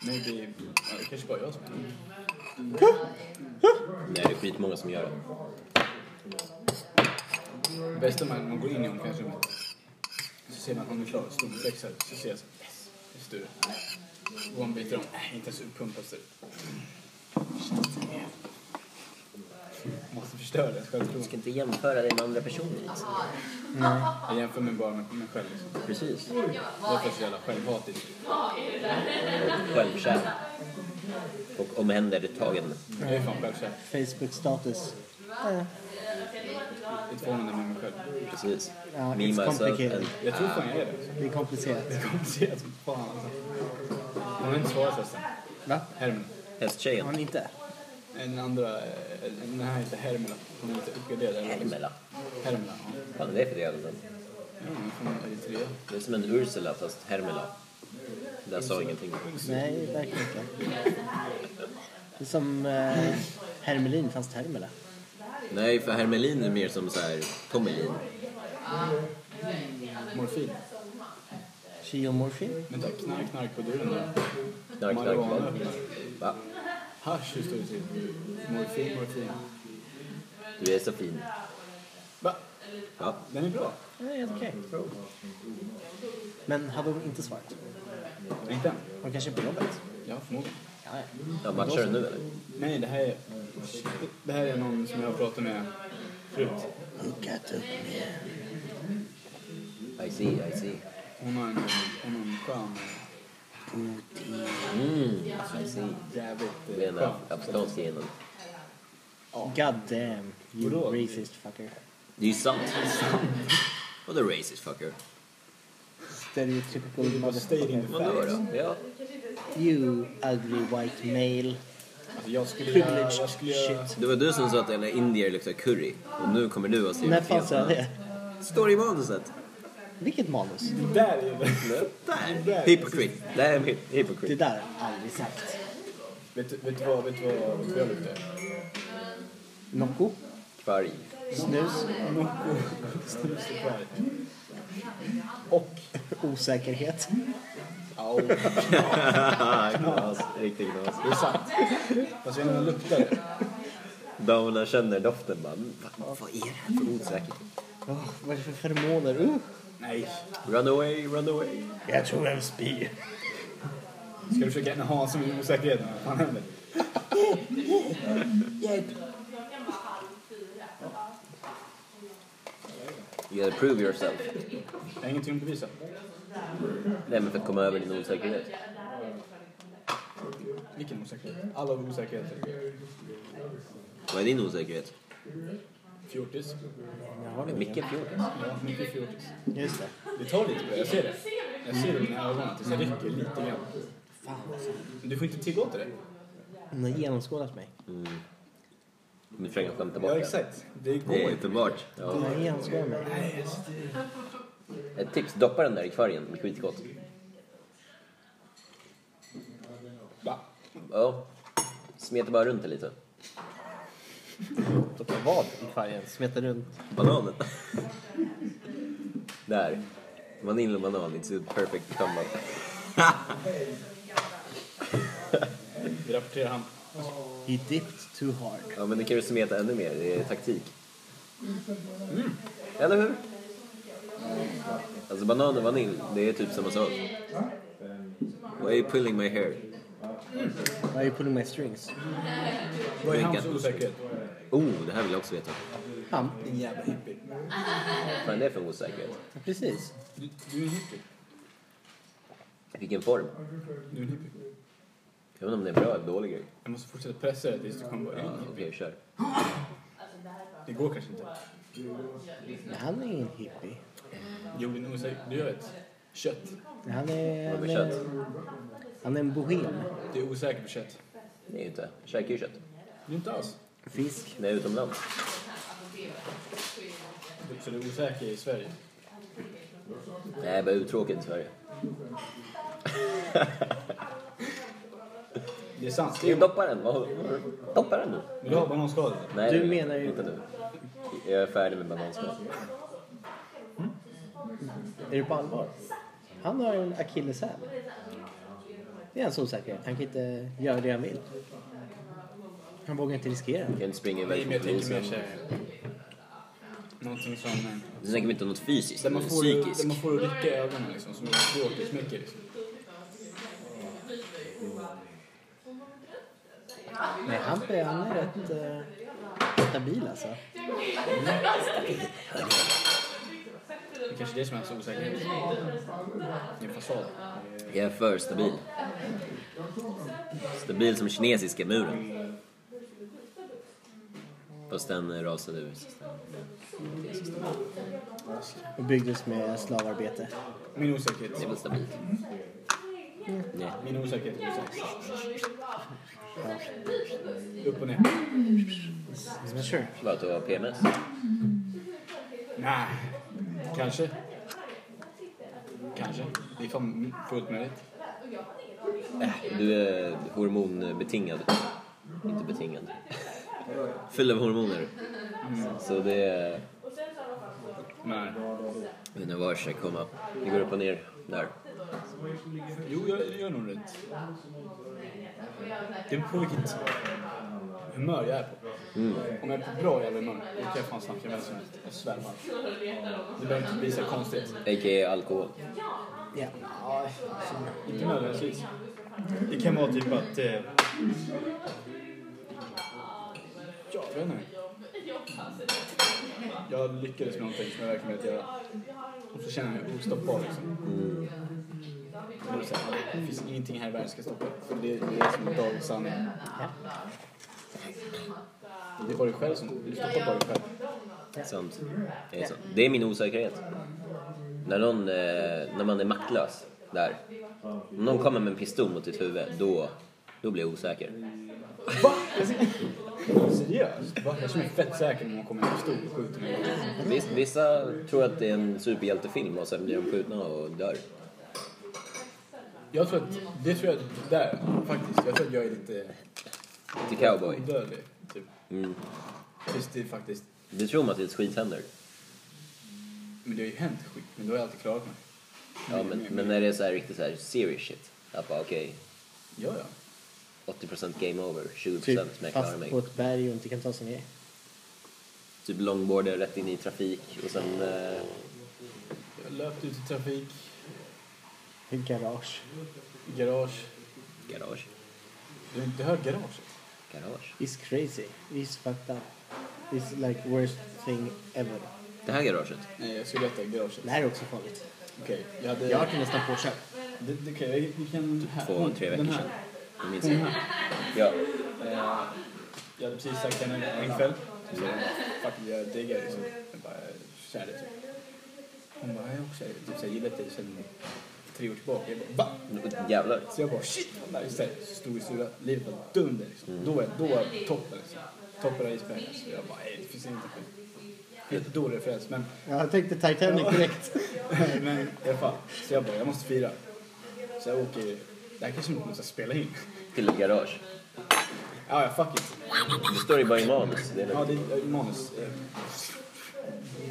Speaker 2: Maybe, ja, det kanske bara jag som är det.
Speaker 1: Nej det är skitmånga som gör det.
Speaker 2: Det bästa man, man går in i omklädningsrummet så ser man att hon är klar, storflexar, så ser jag så yes, just du. Och hon byter om, äh, inte ens uppumpad ser ut. Måste förstöra det
Speaker 1: Du
Speaker 2: självförtroende.
Speaker 1: ska inte jämföra dig med andra personer. Liksom.
Speaker 2: Jag jämför mig bara med mig själv. Liksom.
Speaker 1: Precis.
Speaker 2: Därför är jag så jävla självhatisk.
Speaker 1: Självkär. Och omhändertagen.
Speaker 2: Jag är fan självkär.
Speaker 3: Facebook-status. Eh,
Speaker 2: Jag är tvungen med mig själv.
Speaker 1: Precis. alltså
Speaker 3: Ja,
Speaker 1: Me,
Speaker 3: it's
Speaker 1: myself
Speaker 3: complicated.
Speaker 1: and...
Speaker 2: Jag tror fan jag är det. liksom.
Speaker 3: Det är komplicerat.
Speaker 2: Komplicerat som fan alltså. Hon har inte svarat alltså. förresten.
Speaker 3: Va?
Speaker 2: Hermela.
Speaker 3: Har han
Speaker 1: Hästtjejen.
Speaker 3: inte?
Speaker 2: En andra, eh, den här heter Hermela. Hon är lite uppgraderad. eller liksom.
Speaker 1: Hermela.
Speaker 2: Hermela, ja.
Speaker 1: Vad fan är det för jävla namn?
Speaker 2: Ja, hon är från Eritrea.
Speaker 1: Det är som en Ursula fast Hermela. Det där sa ingenting.
Speaker 3: Nej, verkligen inte. Det är som eh, Hermelin fast Hermela.
Speaker 1: Nej, för Hermelin är mer som så här Tommelin.
Speaker 2: Morfin.
Speaker 3: Geomorphin?
Speaker 2: Vänta, knark, knark på dörren där.
Speaker 1: Knark, knark,
Speaker 2: Marijuana.
Speaker 1: knark. Va?
Speaker 2: Hasch, hur står det till? Morfin, morfin.
Speaker 1: Du är så fin.
Speaker 2: Va?
Speaker 1: Ja.
Speaker 2: Den är bra.
Speaker 3: Nej, helt okej. Men hade hon inte svarat?
Speaker 2: Inte än.
Speaker 3: Hon kanske är på jobbet?
Speaker 2: Ja, förmodligen.
Speaker 3: Ja, ja.
Speaker 1: Ja, matchar du nu eller?
Speaker 2: Nej, det här är... Det här är någon som jag har pratat med förut.
Speaker 3: Hookat upp med.
Speaker 1: I see, I see.
Speaker 2: Hon har en, hon har en skön...
Speaker 1: Mm, I see.
Speaker 2: Jävligt eh,
Speaker 1: Det är en
Speaker 2: skön.
Speaker 1: afrikansk genen.
Speaker 3: God damn, you
Speaker 2: Vadå?
Speaker 3: racist fucker.
Speaker 1: Det är ju sant. What a racist fucker.
Speaker 3: Stereotypical
Speaker 2: Bara stayed in
Speaker 3: motherfucker.
Speaker 2: the
Speaker 1: Vadå
Speaker 2: facts.
Speaker 1: då? Ja.
Speaker 3: You ugly white male.
Speaker 2: Alltså, jag skulle göra...
Speaker 3: Privileged
Speaker 2: Jag skulle göra...
Speaker 3: shit.
Speaker 1: Det var du som sa att alla indier luktar curry. Och nu kommer du och säger
Speaker 3: När
Speaker 1: något
Speaker 3: fan
Speaker 1: helt
Speaker 3: sa jag
Speaker 1: annat.
Speaker 3: det?
Speaker 1: Står i manuset.
Speaker 3: Vilket manus?
Speaker 2: Det där är det.
Speaker 1: Där. Hypocrite. Det här är hy-
Speaker 3: Det
Speaker 1: hypocrite.
Speaker 3: där har jag aldrig sagt.
Speaker 2: Vet du vet du vad, vet du vad, vet du vad jag luktar?
Speaker 3: Nocco?
Speaker 1: Kvarg.
Speaker 3: Snus?
Speaker 2: Nocco, snus och kvarg. Och...
Speaker 3: Osäkerhet?
Speaker 2: Au. Det
Speaker 1: knas. Riktigt knas.
Speaker 2: är sant. Fast Alltså, jag vet inte om det luktar det.
Speaker 1: Damerna känner doften bara. "Mm, Vad, vad är det här för osäkert?
Speaker 3: Åh, vad är det för feromoner? Uh.
Speaker 2: Nej.
Speaker 1: Run away, run away.
Speaker 3: Jag tror jag vill spy.
Speaker 2: Ska du försöka ha som en osäkerhet? Vad fan händer?
Speaker 1: You gotta prove yourself.
Speaker 2: Jag har ingenting att bevisa.
Speaker 1: Nej men för att komma över din osäkerhet.
Speaker 2: Vilken osäkerhet? Alla osäkerheter.
Speaker 1: Vad är din osäkerhet?
Speaker 2: Fjortis.
Speaker 1: Är Micke fjortis?
Speaker 2: Ja, mycket fjortis.
Speaker 3: Just det.
Speaker 2: Det tar lite på det, jag ser det. Jag ser det i dina ögon att det så rycker lite grann.
Speaker 3: Fan alltså.
Speaker 2: Men du får inte tillåta det.
Speaker 3: Hon har genomskådat mig.
Speaker 1: Mm. Du försöker skämta bort
Speaker 2: Ja,
Speaker 1: det.
Speaker 2: exakt. Det går
Speaker 1: Det är
Speaker 2: inte.
Speaker 1: uppenbart.
Speaker 3: Hon
Speaker 1: Ja.
Speaker 3: har genomskådat mig.
Speaker 1: Ett tips, doppa den där i kvargen. Det är skitgott.
Speaker 2: Va?
Speaker 1: Ja. Smeta Oh. bara runt det lite.
Speaker 3: Doppa vad i färgen? Smeta runt.
Speaker 1: Bananen. Där. Vanilj och banan, it's a perfect combo.
Speaker 2: Vi rapporterar han.
Speaker 3: He dipped too hard.
Speaker 1: Ja men nu kan du smeta ännu mer, det är taktik. Mm. Eller hur? Alltså banan och vanilj, det är typ samma sak. Why are you pulling my hair?
Speaker 3: Why are you pulling my strings?
Speaker 2: Vad är hans osäkerhet?
Speaker 1: Oh, det här vill jag också veta.
Speaker 3: Han?
Speaker 2: Din jävla hippie.
Speaker 1: Vad fan är det för osäkerhet?
Speaker 3: Precis.
Speaker 2: Du, du är en hippie.
Speaker 1: Vilken form?
Speaker 2: Du är en hippie.
Speaker 1: Jag vet inte om det är en bra eller dålig grej.
Speaker 2: Jag måste fortsätta pressa dig tills du kommer bara, "Jag är
Speaker 1: Ja,
Speaker 2: en
Speaker 1: Okej,
Speaker 2: hippie."
Speaker 1: kör.
Speaker 2: Det går kanske inte.
Speaker 3: Men han är ingen hippie.
Speaker 2: Jo, din osäkerhet. Du gör ett kött.
Speaker 3: Han är...
Speaker 1: Vad
Speaker 3: Han
Speaker 1: med kött?
Speaker 3: är, han är en bohem.
Speaker 2: Du är osäker på kött.
Speaker 1: Det är ju inte. Jag käkar ju kött.
Speaker 2: Du är inte alls.
Speaker 3: Fisk.
Speaker 1: När jag är utomlands.
Speaker 2: Du- Så du är osäker i Sverige.
Speaker 1: Nej, bara uttråkad i Sverige.
Speaker 2: Det är sant.
Speaker 1: Du, doppa den! Vad- Doppa den nu!
Speaker 2: Vill du ha bananskal?
Speaker 1: Nej,
Speaker 3: Du
Speaker 1: nej, nej.
Speaker 3: menar ju-
Speaker 1: Inte nu. Jag är färdig med bananskal.
Speaker 3: Är du på allvar? Han har en akilleshäl. Det är hans osäkerhet. Han kan inte göra det han vill. Han vågar inte riskera.
Speaker 1: Jag kan inte springa
Speaker 2: Nej,
Speaker 1: iväg
Speaker 2: men
Speaker 1: från
Speaker 2: jag tänker
Speaker 1: polisen.
Speaker 2: mer såhär... Någonting som... eh,
Speaker 1: Nu tänker vi inte om något fysiskt,
Speaker 2: Där
Speaker 1: men
Speaker 2: man får, där
Speaker 1: psykiskt.
Speaker 2: man får rycka i ögonen liksom, som är bråkigt mycket liksom.
Speaker 3: Nej, han, är- han är rätt eh, stabil alltså.
Speaker 2: Det är kanske är det som är så osäkert. Det är en fasad.
Speaker 1: Jag är för stabil. Stabil som kinesiska muren. Fast den rasade ur. så den är stabil.
Speaker 3: Och byggdes med slavarbete.
Speaker 2: Min
Speaker 1: Det är
Speaker 2: osäkerhet.
Speaker 1: väl stabilt? Nej.
Speaker 2: Min osäkerhet är osäker. Upp och ner.
Speaker 3: Men sure.
Speaker 1: Bara att du har PMS.
Speaker 2: Nej. Kanske. Kanske. Det är fan fullt möjligt.
Speaker 1: Äh, Du är hormonbetingad. Inte betingad. Full av hormoner. Så det är...
Speaker 2: Men,
Speaker 1: Universe, komma. Det går upp och ner där.
Speaker 2: jo, jag jag gör nog rätt. Det beror på vilket humör jag är på.
Speaker 1: Mm,
Speaker 2: Om jag är på bra jävla humör, då kan jag fan snacka med vem som helst. Jag svär bara. Det behöver inte bli så konstigt.
Speaker 1: A.k.a. alkohol.
Speaker 3: Ja.
Speaker 2: Inte nödvändigtvis. Det kan vara typ att... Eh... Ja, jag vet inte. Jag lyckades med någonting som jag verkligen vet göra. Och så känner jag mig ostoppbar liksom.
Speaker 1: Mm.
Speaker 2: Och då säger jag, Det finns ingenting här i världen som ska stoppa det. Det är det är som en dagens sanning. Det var du själv som... Du stoppar bara dig själv.
Speaker 1: Sant. Det är, Eh, så. det är min osäkerhet. När, någon, eh, när man är maktlös där. Om någon kommer med en pistol mot ditt huvud, då, då blir jag osäker.
Speaker 2: Va? Jag ser- Seriöst? Va? Jag känner mig fett säker när någon kommer med en pistol och skjuter mig.
Speaker 1: Viss- Vissa tror att det är en superhjältefilm och sen blir de skjutna och dör.
Speaker 2: Jag tror att, det tror jag där faktiskt. Jag tror att jag är lite
Speaker 1: Till cowboy.
Speaker 2: odödlig. Typ.
Speaker 1: Mm.
Speaker 2: Visst, det är faktiskt.
Speaker 1: Det tror man tills skit händer.
Speaker 2: Men det har ju hänt skit. Men då har jag alltid klarat mig.
Speaker 1: Ja, men, men när det är så här riktigt så här serious shit. Att bara okej,
Speaker 2: Ja, ja.
Speaker 1: 80% game over, 20% men
Speaker 3: Typ
Speaker 1: jag klarar
Speaker 3: fast
Speaker 1: mig.
Speaker 3: på ett berg och inte kan ta sig ner.
Speaker 1: Typ longboarder rätt in i trafik och sen... Eh,
Speaker 2: Jag löpte ut i trafik,
Speaker 3: I garage.
Speaker 2: i garage.
Speaker 1: garage.
Speaker 2: Du har inte hört garaget?
Speaker 1: Garage.
Speaker 3: It's crazy. It's fucked up. It's like worst thing ever.
Speaker 1: Det här garaget.
Speaker 2: Nej, jag skulle äta i garaget.
Speaker 3: Det här är också farligt.
Speaker 2: Okej, jag hade...
Speaker 3: Jag har nästan påkört.
Speaker 2: Det, det, okej, vi- vi kan... här.
Speaker 1: Två, tre veckor
Speaker 2: Den
Speaker 1: sedan.
Speaker 2: här.
Speaker 1: Jag minns
Speaker 2: Den
Speaker 1: inte.
Speaker 2: här.
Speaker 1: Ja.
Speaker 2: Eh, Jag hade precis sagt henne en kväll. Så jag bara, Fuck, jag diggar dig. liksom. Jag bara, eh, kär dig. typ. Hon bara, jag är också typ, så jag gillat dig sedan tre år tillbaka. Jag bara, va?
Speaker 1: Jävlar.
Speaker 2: Så jag bara shit vad nice det här är. Så stod i sura, livet var dunder liksom.
Speaker 1: Mm.
Speaker 2: Då är då är toppen liksom. Toppen av isberget. Så jag bara nej det finns inte skit. Jättedålig referens men,
Speaker 3: Jag tänkte Titanic direkt.
Speaker 2: men i alla fall. Så jag bara jag måste fira. Så jag åker, det här kanske inte måste spela in.
Speaker 1: Till ett garage.
Speaker 2: Ja ja fuck it.
Speaker 1: Det står ju bara i manus. Det är
Speaker 2: Ja
Speaker 1: lugnt.
Speaker 2: det är manus. eh,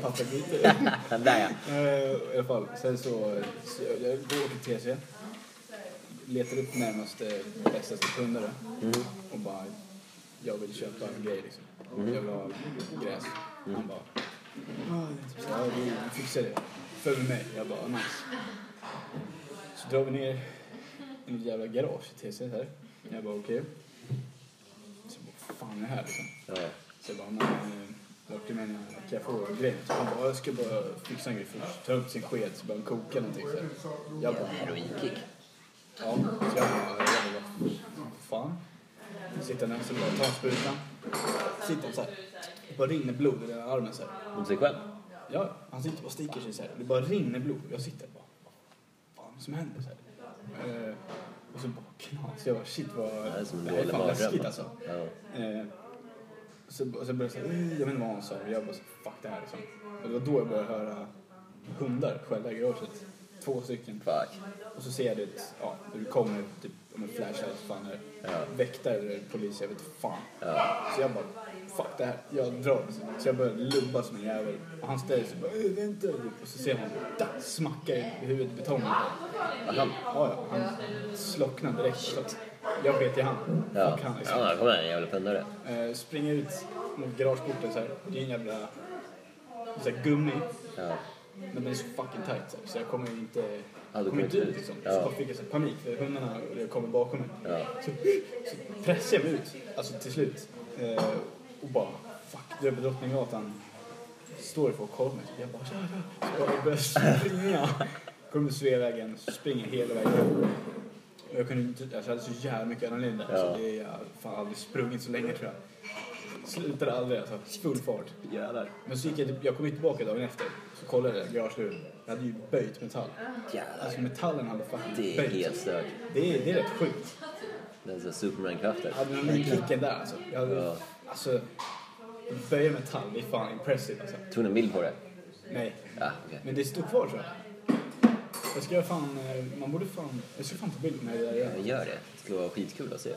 Speaker 2: Pappersbitar.
Speaker 1: Ah, Där ja.
Speaker 2: Eh, I alla fall, sen så, så jag, jag går till TC. Letar upp närmaste bästa sekundare. Och bara, jag vill köpa en grej liksom. Jag vill ha gräs. Han bara, "Ja, typ så, ja vi vi fixar det. Följ med mig. Jag bara, nice. Så drar vi ner i ett jävla garage i TC här. Jag bara, okej. Så jag bara, "Vad fan är det här liksom?
Speaker 1: ja.
Speaker 2: Så jag bara, men eh, vart är mina, kan jag få grejen? Så han bara, jag ska bara fixa en grej först. Ta upp sin sked så börjar han koka någonting så här. Jag bara,
Speaker 1: Heroinkick.
Speaker 2: ja. Så jag bara, jag bara, vad fan. Sitter där så bara, tar han sprutan. Sitter så här. Det bara rinner blod i den här armen så här.
Speaker 1: Om sig själv.
Speaker 2: Ja, han sitter och sticker sig så här. Det bara rinner blod. Jag sitter bara, vad fan som händer? Så här. Eh, och så bara knas. Jag bara, shit vad...
Speaker 1: Det är som en
Speaker 2: det här är
Speaker 1: dålig
Speaker 2: fan läskigt
Speaker 1: mardröm.
Speaker 2: alltså.
Speaker 1: Ja.
Speaker 2: Eh, så, och så började jag säga, "Ih, jag vet inte vad han sa. Och jag bara, så, fuck det här liksom. Och det var då jag började höra hundar skälla i garaget. Två stycken.
Speaker 1: Fuck.
Speaker 2: Och så ser jag det, ja, hur det kommer typ om en flashlight, fan är
Speaker 1: Ja.
Speaker 2: väktare eller polis, jag vet inte fan.
Speaker 1: Ja.
Speaker 2: Så jag bara, fuck det här, jag drar. Så jag börjar lubba som en jävel. Och han ställer sig och bara, "Ih, vänta. Och så ser man, da, smackar i huvudet i betongen.
Speaker 1: Aha.
Speaker 2: Ja, ja, han slocknar direkt. Så att Jag vet ju han.
Speaker 1: Ja.
Speaker 2: Fuck han liksom.
Speaker 1: Ja, kom här jävla pundare.
Speaker 2: Eh, springer ut mot garageporten så här. Det är en jävla så här, gummi.
Speaker 1: Ja.
Speaker 2: Men den är så fucking tight så, här, så jag kommer ju inte...
Speaker 1: Ja, du
Speaker 2: kom
Speaker 1: kom inte
Speaker 2: inte ut
Speaker 1: ut.
Speaker 2: liksom.
Speaker 1: Ja.
Speaker 2: Så bara fick jag så här panik för hundarna kommer bakom mig.
Speaker 1: Ja.
Speaker 2: Så, så pressade jag mig ut, alltså till slut. Eh, och bara, fuck, du är på Drottninggatan. Står det folk och kollar på mig. Så jag bara, ja, ja. Så bara jag började springa. Kommer till Sveavägen, springer hela vägen upp. Och Jag, kunde, inte- alltså, jag hade så jävla mycket adrenalin där.
Speaker 1: Ja.
Speaker 2: Så det, jag har fan aldrig sprungit så länge tror jag. Slutade aldrig alltså, full fart.
Speaker 1: Jävlar.
Speaker 2: Men så gick jag, jag kom ju tillbaka dagen efter. Så kollade jag garageluren. Jag hade ju böjt metall.
Speaker 1: Jävlar.
Speaker 2: Alltså metallen hade fucking
Speaker 1: Det är
Speaker 2: böjt.
Speaker 1: helt stört.
Speaker 2: Det är, det är rätt sjukt.
Speaker 1: Det är så här Superman-krafter.
Speaker 2: Adrenalinkicken där alltså. Jag hade,
Speaker 1: Ja.
Speaker 2: Alltså, böja metall, det är fan impressive alltså.
Speaker 1: Tog ni en bild på det?
Speaker 2: Nej,
Speaker 1: Ja, okej.
Speaker 2: men det står kvar tror jag. Jag ska göra fan, eh, man borde fan, jag ska fan ta bild med det där
Speaker 1: Ja,
Speaker 2: igen.
Speaker 1: Gör det. Det skulle vara skitkul att se.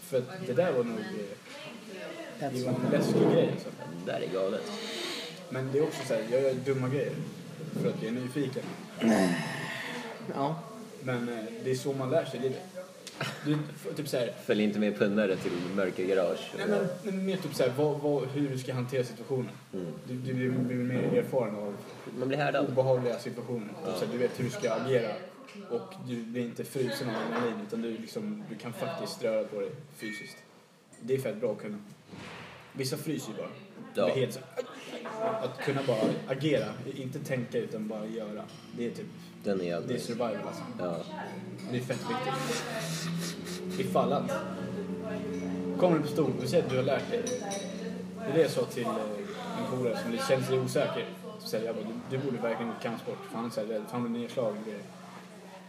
Speaker 2: För att det där var nog, eh, det var en läskig grej alltså.
Speaker 1: Det där är galet.
Speaker 2: Men det är också såhär, jag gör dumma grejer. För att jag är nyfiken.
Speaker 3: Ja.
Speaker 2: Men eh, det är så man lär sig livet. Du, för- typ såhär,
Speaker 1: Följ inte med pundare till mörka garage.
Speaker 2: Nej men, nej, men mer typ såhär, vad, vad, hur du ska hantera situationen. Du, du blir, blir mer erfaren av
Speaker 1: Man blir härdad.
Speaker 2: obehagliga situationer. Typ såhär, du vet hur du ska agera. Och du blir inte frusen av adrenalin utan du, liksom, du kan faktiskt röra på dig fysiskt. Det är fett bra att kunna. Vissa fryser ju bara.
Speaker 1: Ja.
Speaker 2: Det är helt så, att kunna bara agera, inte tänka utan bara göra. Det är typ,
Speaker 1: Den är
Speaker 2: det är
Speaker 1: jävligt.
Speaker 2: survival alltså.
Speaker 1: Ja.
Speaker 2: Det är fett viktigt. Ifall att. Kommer du på stol, vi säger att du har lärt dig. Det är det jag sa till eh, en polare som lite- känner sig osäker. Så säger jag bara, du, du borde verkligen gå kampsport. För han är så här rädd, för han blir nedslagen och grejer.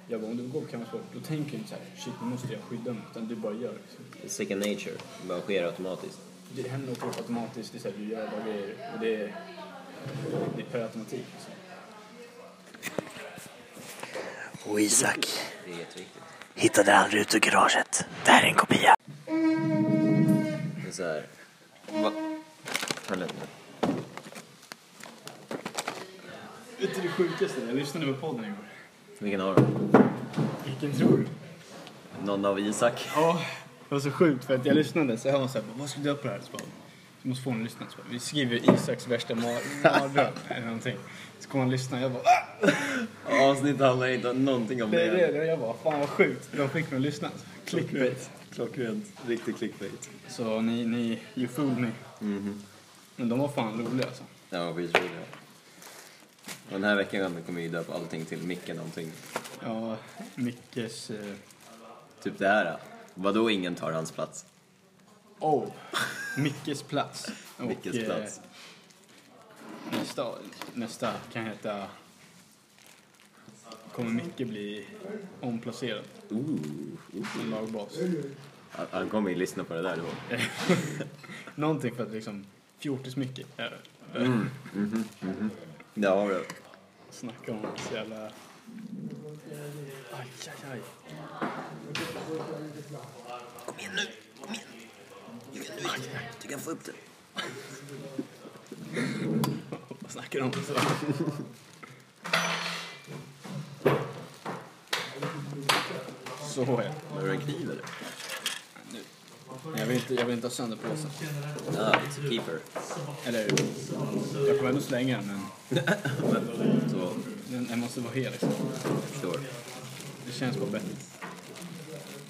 Speaker 2: Jag bara, om du går på kampsport, då tänker du inte så här, shit nu måste jag skydda mig. Utan du bara gör. liksom.
Speaker 1: Second nature. Det bara sker automatiskt.
Speaker 2: Det händer något automatiskt, det är så här, du gör bara grejer. Och det är, det är per automatik. Liksom.
Speaker 5: Och Isak
Speaker 1: Det är jätteviktigt.
Speaker 5: hittade aldrig ut ur garaget. Det här är en kopia.
Speaker 1: Det är så här... Va? Ta lugnt nu.
Speaker 2: Vet du det sjukaste? Jag lyssnade på podden igår.
Speaker 1: Vilken har du?
Speaker 2: Vilken tror du?
Speaker 1: Någon av Isak?
Speaker 2: Ja, det var så sjukt för att jag lyssnade så jag var så här, bara, vad ska du göra på det här? Så bara, du måste få honom att lyssna. Så bara, vi skriver Isaks värsta mar- mardröm eller någonting. Så kommer han lyssna jag bara, ah!
Speaker 1: Avsnittet handlar inte om någonting om
Speaker 2: det är det. det. Jag bara, fan vad sjukt. De fick mig att lyssna. Clickbait.
Speaker 1: Klockrent. Riktig clickbait.
Speaker 2: Så ni, ni, you fooled me.
Speaker 1: Mm-hmm.
Speaker 2: Men de var fan roliga alltså.
Speaker 1: Ja, skitroligt. Och Den här veckan kommer vi döpa allting till Micke någonting.
Speaker 2: Ja, Mickes... eh,
Speaker 1: Typ det här. Vadå ingen tar hans plats?
Speaker 2: Oh! Mickes plats. Och,
Speaker 1: Mickes
Speaker 2: eh,
Speaker 1: plats.
Speaker 2: Nästa, nästa kan heta... Kommer Micke bli omplacerad
Speaker 1: Ooh.
Speaker 2: som lagbas?
Speaker 1: Han- Han kommer ju lyssna på det där då.
Speaker 2: Någonting för att liksom, fjortismycket. Äh,
Speaker 1: Ja, har du.
Speaker 2: snacka om så jävla... Aj, aj, aj.
Speaker 5: Kom igen nu. Kom igen. Du kan, du, du kan få upp det.
Speaker 2: Vad snackar du om? Så ja.
Speaker 1: Har du en kniv eller?
Speaker 2: Jag vill inte, jag vill inte ha sönder påsen.
Speaker 1: Ja, it's a keeper.
Speaker 2: Eller Jag kommer ändå slänga den, men
Speaker 1: Så,
Speaker 2: den, den måste vara hel. Liksom.
Speaker 1: förstår.
Speaker 2: Det känns bara bättre.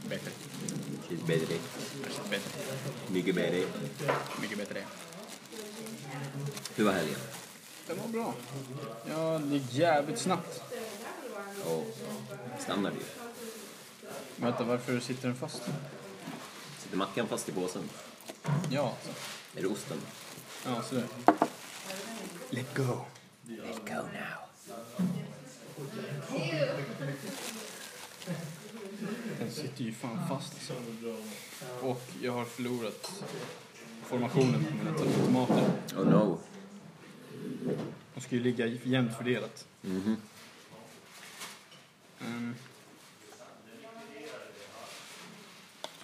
Speaker 2: Bättre.
Speaker 1: She's bättre.
Speaker 2: Alltså, bättre.
Speaker 1: Mycket bättre.
Speaker 2: Mycket bättre.
Speaker 1: Hur var helgen?
Speaker 2: Den var bra. Ja, det gick jävligt snabbt.
Speaker 1: Och standard ju.
Speaker 2: Vänta, varför sitter den fast?
Speaker 1: Sitter mackan fast i påsen?
Speaker 2: Ja, alltså.
Speaker 1: Är det osten?
Speaker 2: Ja, sådär. Let go.
Speaker 1: Let go now.
Speaker 2: Den sitter ju fan fast alltså. Och jag har förlorat formationen på mina tomater.
Speaker 1: Oh no.
Speaker 2: De ska ju ligga jämnt fördelat. Mm.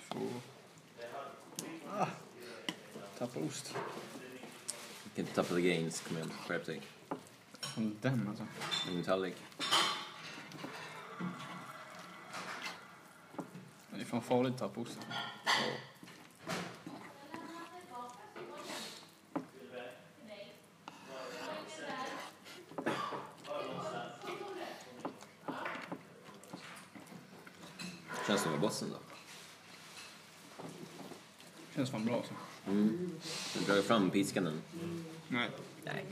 Speaker 2: Två. Ah. Tappar ost.
Speaker 1: You can top of the gains. Kom igen, skärp dig.
Speaker 2: Som den alltså.
Speaker 1: En tallrik.
Speaker 2: Det är fan farligt att tappa ost.
Speaker 1: Känns som i bossen då.
Speaker 2: Känns fan bra alltså.
Speaker 1: Den drar ju fram piskan den.
Speaker 2: Nej.
Speaker 1: Nej.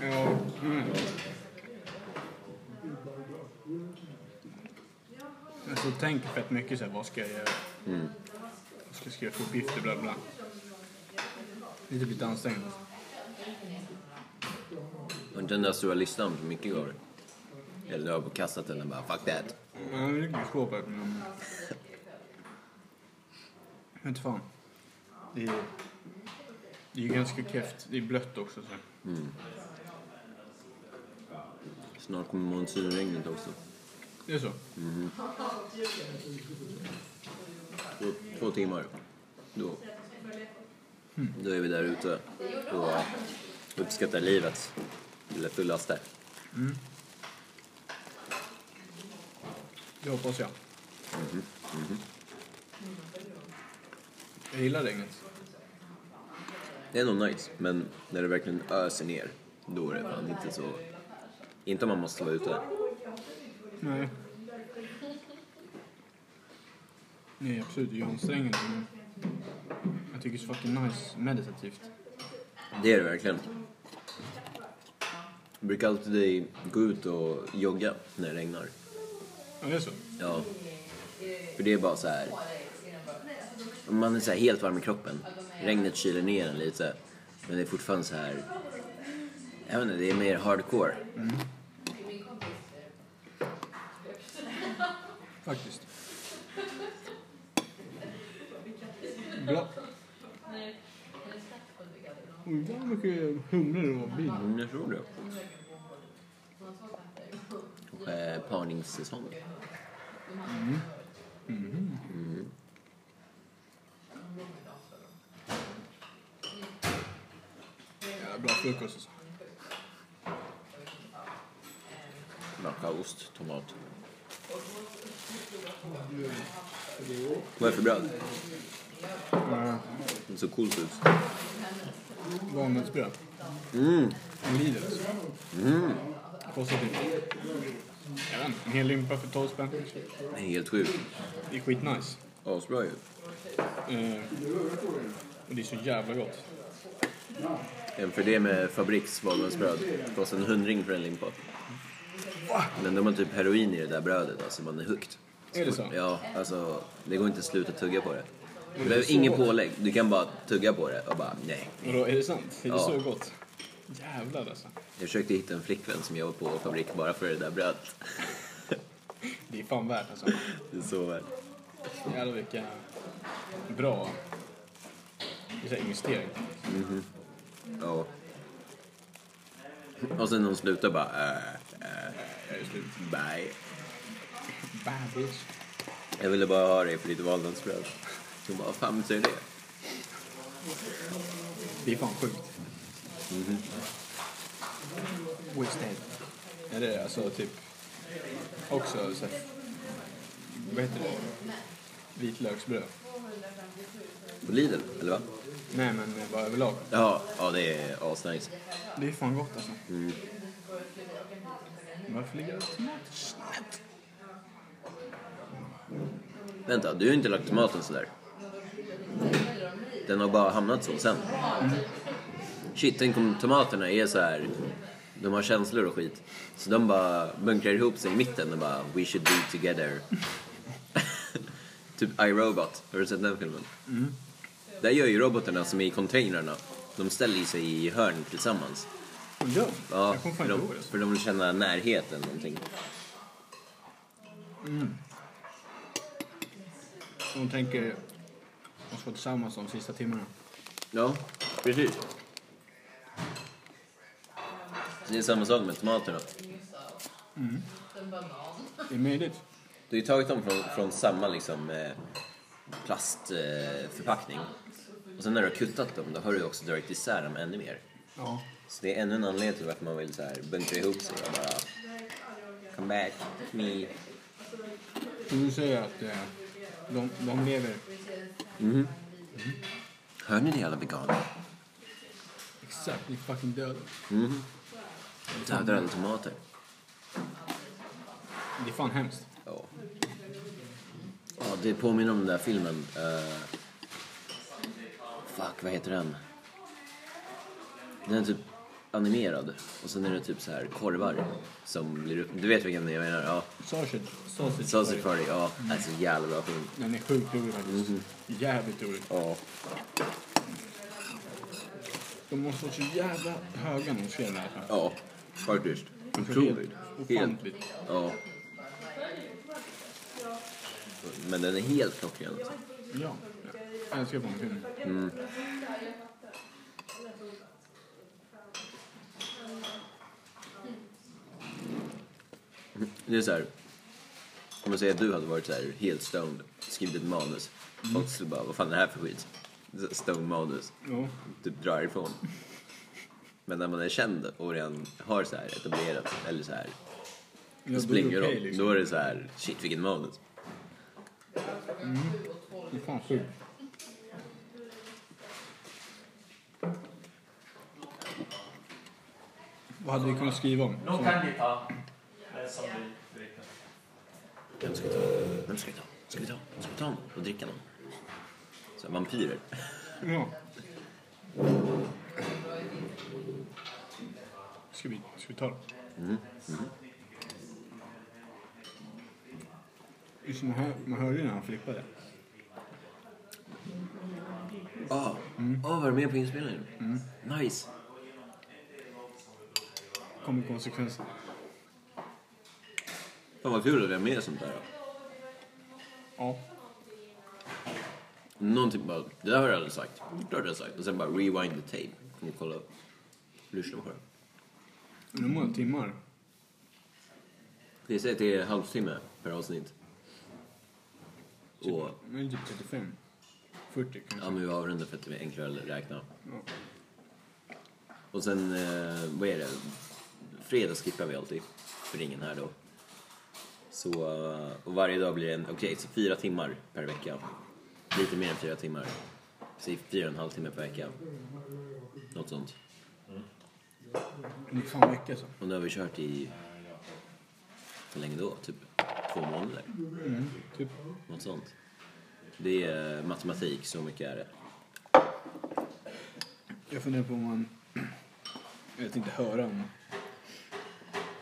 Speaker 2: Ja. Mm. Alltså jag tänker fett mycket så här, vad ska jag göra? Vad ska jag skriva för uppgifter, bla bla. Det är typ lite ansträngande. Alltså.
Speaker 1: Och inte den där stora listan som Micke gav dig. Eller du har kastat den och bara fuck that.
Speaker 2: Ja, det ligger i skåpet. Men... Jag vet fan. Det är, det är ju ganska kräft. Det är blött också. Så.
Speaker 1: Snart kommer monsunregnet också.
Speaker 2: Det är så?
Speaker 1: Två, två timmar. Då. Då är vi där ute och uppskattar livet. Till det fullaste.
Speaker 2: Det hoppas jag. Jag gillar regnet.
Speaker 1: Det är nog nice, men när det verkligen öser ner, då är det fan inte så... Inte om man måste vara ute.
Speaker 2: Nej. Nej, absolut. Det är ju ansträngande. Men jag tycker det är så fucking nice meditativt.
Speaker 1: Det är det verkligen. Jag brukar alltid gå ut och jogga när det regnar.
Speaker 2: Ja, det är så?
Speaker 1: Ja. För det är bara så här. Om Man är så här helt varm i kroppen. Regnet kyler ner en lite. Men det är fortfarande så här. Jag vet inte, det är mer hardcore.
Speaker 2: Faktiskt. Bra. Oj, vad mycket humlor det var i bilen.
Speaker 1: Mm, jag tror det. Och, eh, Parningssäsong.
Speaker 2: Ja, bra frukost alltså.
Speaker 1: Macka, ost, tomat. Vad är det för bröd?
Speaker 2: Ja,
Speaker 1: Det ser coolt ut.
Speaker 2: Valnötsbröd.
Speaker 1: Mm.
Speaker 2: En Lidl alltså. Kostar typ... Jag vet inte, en hel limpa för 12 spänn kanske.
Speaker 1: Det är Helt sjukt.
Speaker 2: Det är skitnice.
Speaker 1: Asbra ju.
Speaker 2: Eh, och det är så jävla gott.
Speaker 1: Jämför det med Fabriks valnötsbröd. Kostar en hundring för en limpa. Men de har typ heroin i det där brödet, alltså man är hooked.
Speaker 2: Är det så?
Speaker 1: Ja, alltså det går inte att sluta tugga på det. Du
Speaker 2: är
Speaker 1: behöver
Speaker 2: så
Speaker 1: ingen
Speaker 2: gott.
Speaker 1: pålägg, du kan bara tugga på det och bara nej.
Speaker 2: Vadå, är det sant? Är det
Speaker 1: Ja.
Speaker 2: så gott? Jävlar alltså.
Speaker 1: Jag försökte hitta en flickvän som jobbar på Fabrik bara för det där brödet.
Speaker 2: Det är fan värt alltså.
Speaker 1: Det är så väl.
Speaker 2: Jävlar vilka bra det är så här investering.
Speaker 1: Ja. Och sen när hon slutar bara äh, äh,
Speaker 2: Jag är slut.
Speaker 1: bye.
Speaker 2: Bad bitch.
Speaker 1: Jag ville bara ha dig för ditt valnötsbröd. Hon bara, vad fan betyder det?
Speaker 2: Det är fan sjukt.
Speaker 1: Mhm.
Speaker 2: Wasted. Ja, det är alltså typ också så här, vad heter det? Vitlöksbröd.
Speaker 1: På Lidl, eller va?
Speaker 2: Nej men bara överlag.
Speaker 1: Ja, ja det är asnice.
Speaker 2: Det är fan gott alltså.
Speaker 1: Mm.
Speaker 2: Varför ligger det tomater snett?
Speaker 1: Vänta, du har ju inte lagt tomaten sådär. Den har bara hamnat så sen.
Speaker 2: Mm.
Speaker 1: Shit, tänk om tomaterna är så här. De har känslor och skit. Så de bara bunkrar ihop sig i mitten och bara We should be together. typ iRobot. Har du sett den filmen?
Speaker 2: Mm.
Speaker 1: Där gör ju robotarna som är i containrarna. De ställer ju sig i hörn tillsammans.
Speaker 2: Åh, Ja,
Speaker 1: Ja,
Speaker 2: jag kommer fan
Speaker 1: för
Speaker 2: inte
Speaker 1: de,
Speaker 2: ihåg det. Alltså.
Speaker 1: för de vill känna närheten någonting.
Speaker 2: De tänker oss vara tillsammans de sista timmarna.
Speaker 1: Ja, precis. Det är samma sak med tomaterna.
Speaker 2: Det är möjligt.
Speaker 1: Du har ju tagit dem från, från samma liksom, eh, plastförpackning. Eh, förpackning. och sen när du har kuttat dem, då har du ju också dragit isär dem ännu mer.
Speaker 2: Ja.
Speaker 1: Så det är ännu en anledning till varför man vill så här bunkra ihop sig och bara... Come back, me.
Speaker 2: Så du säger att eh, de, de lever
Speaker 1: Hör ni det alla veganer?
Speaker 2: exakt i fucking döden.
Speaker 1: Dödar alla tomater.
Speaker 2: Det är fan hemskt.
Speaker 1: Ja. Det påminner om den där filmen. eh, fuck, vad heter den? Den är typ animerad och sen är det typ så här korvar som blir upp... Du vet vilken jag menar? Ja.
Speaker 2: Sausage. Sausage.
Speaker 1: Sausage Party, ja. Alltså jävla bra film.
Speaker 2: Den är sjukt rolig faktiskt. Jävligt rolig.
Speaker 1: Ja.
Speaker 2: De måste vara så jävla höga när de ser den här.
Speaker 1: Ja, faktiskt.
Speaker 2: Helt
Speaker 1: Otroligt. Helt.
Speaker 2: Ofantligt.
Speaker 1: Ja. Men den är helt klockren. alltså.
Speaker 2: Ja. Jag älskar på den filmen.
Speaker 1: Det är så här. Om man säger att du hade varit så här helt stoned, skrivit ett manus. Folk skulle bara, vad fan är det här för skit? Stoned manus.
Speaker 2: Ja.
Speaker 1: Typ drar ifrån. Men när man är känd och redan har så här etablerat, eller så här,
Speaker 2: Ja,
Speaker 1: det liksom. spelar ingen
Speaker 2: okej, liksom.
Speaker 1: roll. Då är det så här, shit vilken manus.
Speaker 2: Det är fan sjukt. Vad hade vi kunnat skriva om?
Speaker 4: Någon kan ni ta. Den som du vet.
Speaker 1: Vem ska vi ta? Vem ska vi ta? Ska vi ta? Ska vi ta någon? Och dricka någon? Så här, vampyrer.
Speaker 2: Ja. Ska vi, ska vi ta det? Just man, hör, man hörde ju när han flippade.
Speaker 1: Ah, ah, var du med på inspelningen? Nice.
Speaker 2: Kommer konsekvenserna.
Speaker 1: Fan vad kul att vi har med sånt där. då.
Speaker 2: Ja.
Speaker 1: Någonting bara, det där har jag aldrig sagt. Det har jag sagt. Och sen bara rewind the tape. Kan ni kolla upp? Lyssna på det.
Speaker 2: Men hur många timmar?
Speaker 1: Det säger att det är halvtimme per avsnitt. Och,
Speaker 2: Men typ 35. 40
Speaker 1: ja
Speaker 2: kanske.
Speaker 1: men vi avrundar för att det är enklare att räkna.
Speaker 2: Ja.
Speaker 1: Och sen, eh, vad är det? Fredag skippar vi alltid. För det är ingen här då. Så, eh, och varje dag blir det en, okej, så fyra timmar per vecka. Lite mer än fyra timmar. Säg fyra och en halv timme per vecka. Något sånt.
Speaker 2: Det är fan mycket så.
Speaker 1: Och nu har vi kört i, hur länge då? Typ två månader?
Speaker 2: Typ.
Speaker 1: Något sånt. Det är eh, matematik, så mycket är det.
Speaker 2: Jag funderar på om man... Jag vet inte, höra om...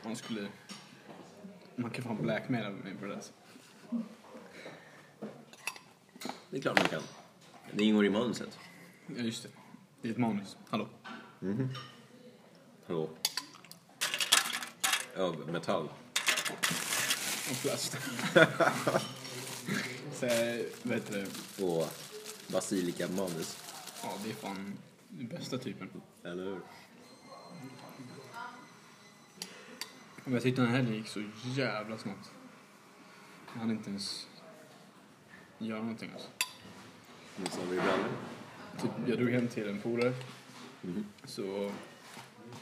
Speaker 2: Man skulle... Man kan fan blackmaila mig på det där.
Speaker 1: Det är klart man kan. Det ingår i manuset.
Speaker 2: Ja, just det. Det är ett manus. Hallå?
Speaker 1: Hallå? Av metall.
Speaker 2: Och plast. Så här, vad heter det?
Speaker 1: Och basilika manus.
Speaker 2: Ja, det är fan den bästa typen.
Speaker 1: Eller hur?
Speaker 2: Men jag tyckte den här gick så jävla snabbt. Jag hann inte ens göra någonting alltså.
Speaker 1: Nu sa vi ibland.
Speaker 2: Typ, jag drog hem till en polare.
Speaker 1: Mm-hmm.
Speaker 2: Så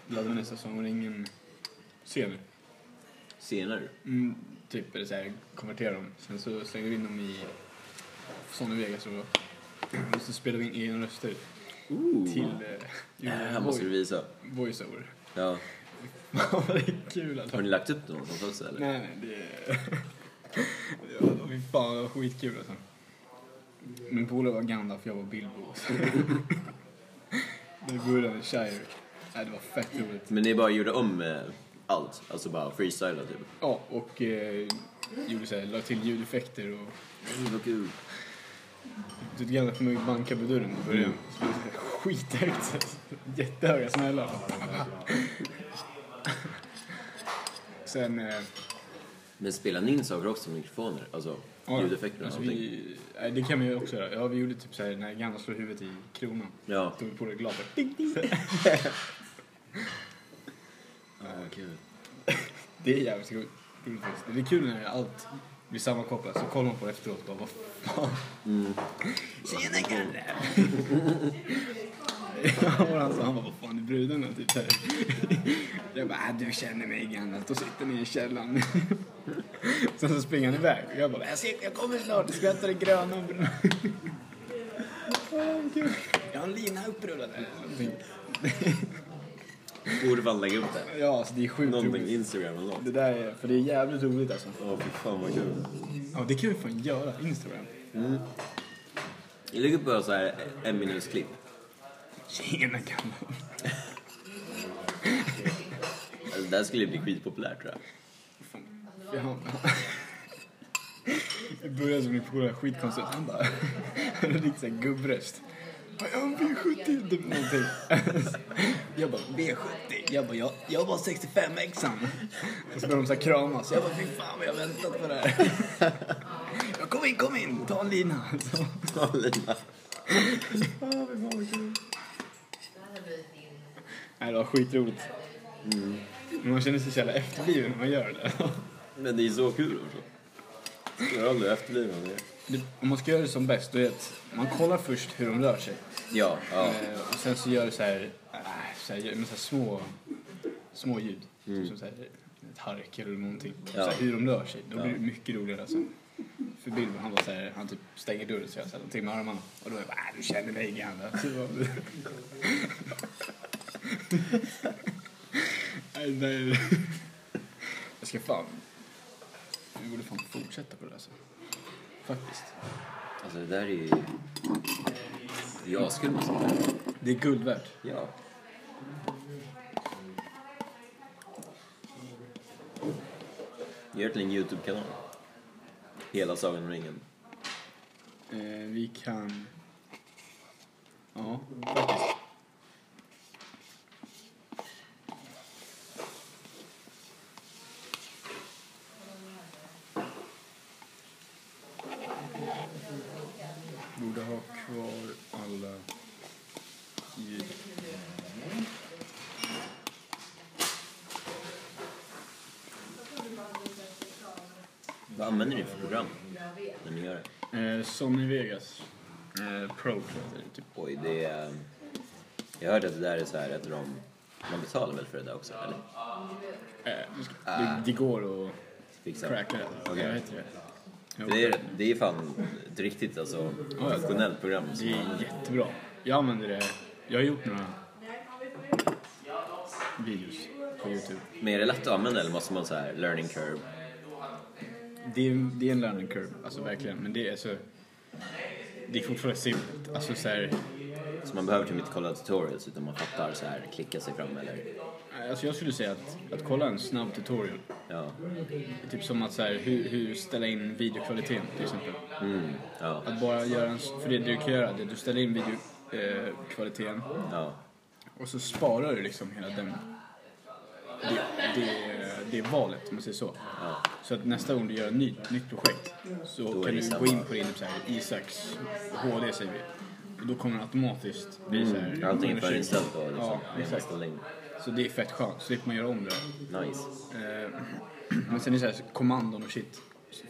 Speaker 2: laddade vi nästa sång och ingen ser nu.
Speaker 1: Senare.
Speaker 2: Mm, typ eller så här, konverterade dem. Sen så slängde vi in dem i Sony Vegas och, och så spelade vi in egna röster
Speaker 1: Ooh.
Speaker 2: till eh,
Speaker 1: Det här måste vi visa.
Speaker 2: voiceover.
Speaker 1: Ja.
Speaker 2: Vad det är kul alltså.
Speaker 1: Har
Speaker 2: Nej,
Speaker 1: ni lagt upp det någonstans också eller?
Speaker 2: nej, det är... Ja, Fy fan, det var skitkul alltså. Min polare var Gandalf, jag var Bilbo. alltså. Det började med Shire. Nej, det var fett roligt.
Speaker 1: Men ni bara gjorde om eh, allt? Alltså bara freestyla typ?
Speaker 2: Ja, och eh, gjorde så här, la till ljudeffekter och...
Speaker 1: Mm, vad kul.
Speaker 2: Du vet, Gandalf kommer ju banka på dörren i början. Så det är så här Skithögt. alltså. Jättehöga smällar. Sen... Eh,
Speaker 1: Men spelar ni in saker också med mikrofoner? Alltså
Speaker 2: Ja,
Speaker 1: ljudeffekterna och
Speaker 2: alltså
Speaker 1: allting?
Speaker 2: vi, nej, Det kan man ju också göra. Ja, vi gjorde typ såhär när Ganna slår huvudet i kronan.
Speaker 1: Ja.
Speaker 2: Tog vi på det glaset. Ding, ding.
Speaker 1: Ah, kul.
Speaker 2: Det är jävligt roligt roligt faktiskt. Det är kul när allt blir sammankopplat. Så kollar man på det efteråt och bara vad fan.
Speaker 5: Tjena Kalle!
Speaker 2: Och han, sa, han bara vad fan är brudarna typ såhär. Jag bara äh, du känner mig Ganna. Då sitter ni i källaren. Sen så springer han iväg. Jag bara jag, ser, jag kommer snart. Jag skrattar i gröna. Jag har en lina upprullad. här.
Speaker 1: Borde fan lägga upp det.
Speaker 2: Ja, alltså det är sjukt
Speaker 1: Någonting
Speaker 2: roligt.
Speaker 1: Instagram eller något.
Speaker 2: Det där är, för det är jävligt roligt alltså.
Speaker 1: Åh fy fan vad kul.
Speaker 2: Ja, det kan vi fan göra. Instagram.
Speaker 1: Jag lägger upp bara så här en minuts klipp.
Speaker 2: Tjena gammal.
Speaker 1: Alltså, det här skulle ju bli skitpopulärt tror jag.
Speaker 2: Ja. I början som min polare skitkonstigt. Han bara, han hade lite såhär gubbröst. Jag har V70 typ någonting. Jag bara V70. Jag bara jag, jag var 65 exan. Och så började de såhär kramas. Jag bara fy fan vad jag har väntat på det här. Jag kom in, kom in, ta en lina. Så.
Speaker 1: Ja, Lina.
Speaker 2: Nej det var skitroligt. Men Man känner sig så jävla efterbliven när man gör det.
Speaker 1: Men det är så kul också. Jag har aldrig efterlevt det.
Speaker 2: Det- Om man ska göra det som bäst, då är det att man kollar först hur de rör sig.
Speaker 1: Ja, ja.
Speaker 2: Eh, och sen så gör du så här, äh, så här, gör- men så här små, små ljud. Typ som så här, ett hark eller någonting. Typ
Speaker 1: Ja.
Speaker 2: Så här, hur de rör sig. Då blir det mycket roligare alltså. För Bilbo han bara så här, han typ stänger dörren så jag så här, de timmar armarna. Och då är jag bara, äh, du känner mig igen. Nej, nej. Jag ska fan, vi borde fan fortsätta på det alltså. Faktiskt.
Speaker 1: Alltså det där är ju... Det är askul med sånt där.
Speaker 2: Det är guld värt.
Speaker 1: Ja. Gör till en YouTube-kanal. Hela Sagan om ringen.
Speaker 2: Eh, vi kan... Ja, faktiskt. Borde ha kvar alla ljud.
Speaker 1: Vad använder ni för program när ni gör det?
Speaker 2: Eh, Sony Vegas eh, Pro heter det typ.
Speaker 1: Oj, det är... ehm, Jag hörde att det där är så här att de... Man betalar väl för det där också, eller?
Speaker 2: Eh, det, ska- det, det går att
Speaker 1: Fixa.
Speaker 2: cracka det.
Speaker 1: Okej.
Speaker 2: Vad heter det? Jo.
Speaker 1: För Det är, det är fan ett riktigt alltså, professionellt program. som
Speaker 2: Det
Speaker 1: man-
Speaker 2: är jättebra. Jag använder det. Jag har gjort några videos på Youtube.
Speaker 1: Men är det lätt att använda eller måste man så här learning curve?
Speaker 2: Det är, det är en learning curve, alltså verkligen. Men det är så... Det är fortfarande simpelt. Alltså så här,
Speaker 1: Så man behöver typ inte kolla tutorials utan man fattar så här, klicka sig fram eller...
Speaker 2: alltså jag skulle säga att, att kolla en snabb tutorial.
Speaker 1: Ja.
Speaker 2: är Typ som att så här, hur, hur ställa in videokvaliteten till exempel.
Speaker 1: Mm. Ja.
Speaker 2: Att bara göra en... s- För det du kan göra, det är att du ställer in videokvaliteten
Speaker 1: Ja.
Speaker 2: och så sparar du liksom hela den... Det, det, det valet, om man säger så.
Speaker 1: Ja.
Speaker 2: Så att nästa gång du gör ett nytt, nytt projekt så
Speaker 1: är
Speaker 2: kan
Speaker 1: det
Speaker 2: du
Speaker 1: samma.
Speaker 2: gå in på din typ så här, Isaks HD säger vi. Och då kommer det automatiskt bli så här.
Speaker 1: Mm. Allting är
Speaker 2: 120.
Speaker 1: förinställt då liksom.
Speaker 2: Ja,
Speaker 1: med en
Speaker 2: exakt.
Speaker 1: ställning.
Speaker 2: Så det är fett skönt, slipper man göra om det.
Speaker 1: Nice.
Speaker 2: Eh, Men sen är det så här kommandon och shit.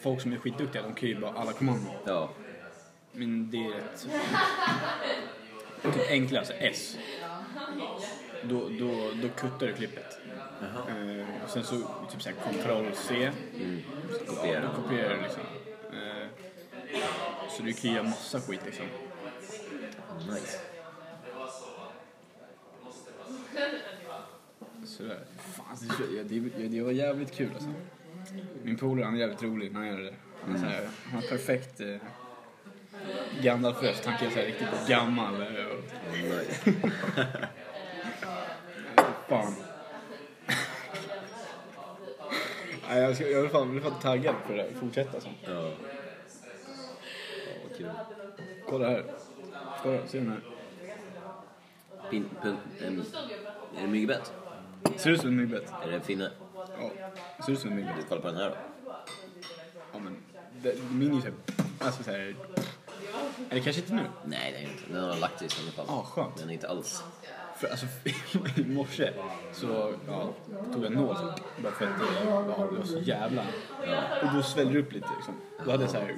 Speaker 2: Folk som är skitduktiga de kan ju bara alla kommandon.
Speaker 1: Ja.
Speaker 2: Men det är rätt... Typ enklare, alltså S. Då, då, då kuttar du klippet. Eh, och sen så typ såhär kontroll C.
Speaker 1: Kopiera.
Speaker 2: Då kopierar du liksom. Eh, så du kan göra massa skit liksom.
Speaker 1: Nice.
Speaker 2: Sådär. Fan, det, ja, det, ja, det var jävligt kul alltså. Min polare han är jävligt rolig när han gör det. Han, är såhär, han har perfekt eh, Gandalf-röst. Han kan göra såhär riktigt gammal. eh, och-
Speaker 1: nice.
Speaker 2: Fan. Nej, jag, ska, jag, är fan, jag blir fan taggad på det där. Fortsätta alltså.
Speaker 1: Ja. Ja, vad kul.
Speaker 2: Kolla här. Kolla, ser du den här?
Speaker 1: Pin, pin, em, är det myggbett?
Speaker 2: Ser ut som en myggbett?
Speaker 1: Är det en finne?
Speaker 2: Ja. Ser ut som en
Speaker 1: Du
Speaker 2: myggbett?
Speaker 1: kollar på den här då?
Speaker 2: Ja, men. Det, min är ju såhär... Alltså såhär... Eller kanske inte nu.
Speaker 1: Nej, det är inte. Den har lagt sig i sådana fall.
Speaker 2: Ah, skönt.
Speaker 1: Den är inte alls...
Speaker 2: För alltså i morse så ja, tog jag en nål typ. bara för att det ja, det var så jävla... Och då svällde det upp lite liksom. Då hade jag såhär...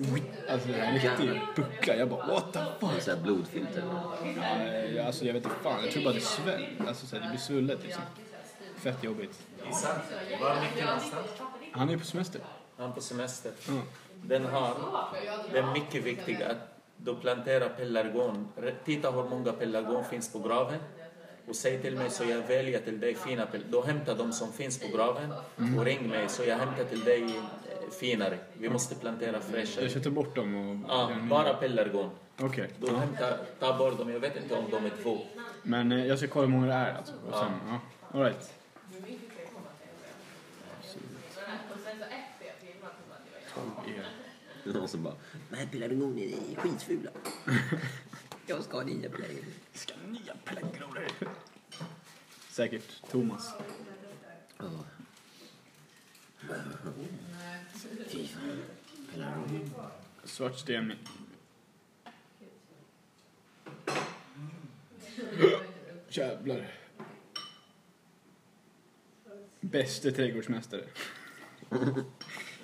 Speaker 2: Alltså en riktig buckla. Jag bara what the fuck.
Speaker 1: Det är så här blodfilter.
Speaker 2: Nej, Alltså jag vet inte fan, jag tror bara det sväll. Alltså så här, det blir svullet liksom. Fett jobbigt.
Speaker 6: Var micken någonstans?
Speaker 2: Han är ju på semester.
Speaker 6: Han på semester.
Speaker 2: Ja.
Speaker 6: Den har, det är mycket viktigt att du planterar pelargon. Re- Titta hur många pelargon finns på graven. och säg till mig så jag väljer till dig fina pil- Då hämta de som finns på graven och ring mig så jag hämtar till dig eh, finare. Vi måste plantera fräschare.
Speaker 2: Jag köpte bort dem och...
Speaker 6: Ja, bara pelargon.
Speaker 2: Okej.
Speaker 6: Då hämta, ta bort dem. Jag vet inte om de är två.
Speaker 2: Men eh, jag ska kolla hur många det är alltså. Och sen, ja. All right.
Speaker 1: Och så bara,
Speaker 7: De här pelargonerna är skitfula. Jag ska ha nya pelargoner. Ska ha nya pelargoner.
Speaker 2: Säkert Thomas.
Speaker 7: Fy fan.
Speaker 2: Svart sten. Jävlar. Bäste trädgårdsmästare.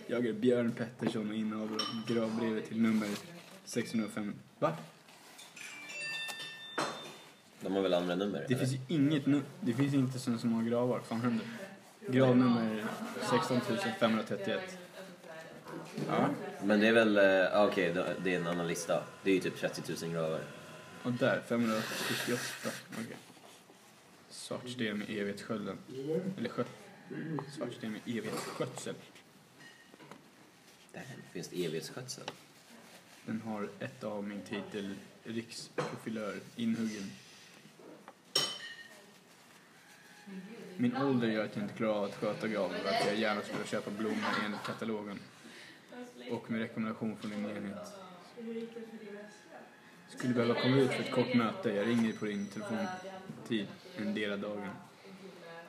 Speaker 2: Jag är Björn Pettersson och innehavare av gravbrevet till nummer 605. Va?
Speaker 1: de har väl andra nummer?
Speaker 2: Det
Speaker 1: eller?
Speaker 2: finns ju inget nu. Det finns inte så så många gravar. Fan händer? Grav nummer 16 531. Ja.
Speaker 1: Men det är väl, eh, ja, okej då- det är en annan lista. Det är ju typ 30 000 gravar.
Speaker 2: Och där, 578. Okej. Svartsten med evighetsskölden. Eller skö... Svartsten med evighetsskötsel.
Speaker 1: Där finns det evighetsskötsel.
Speaker 2: Den har ett av min titel, riksprofilör, inhuggen. Min ålder gör att jag inte klarar av att sköta graven varför jag gärna skulle köpa blommor enligt katalogen. Och med rekommendation från din enhet. Skulle behöva komma ut för ett kort möte. Jag ringer på din telefontid en del av dagen.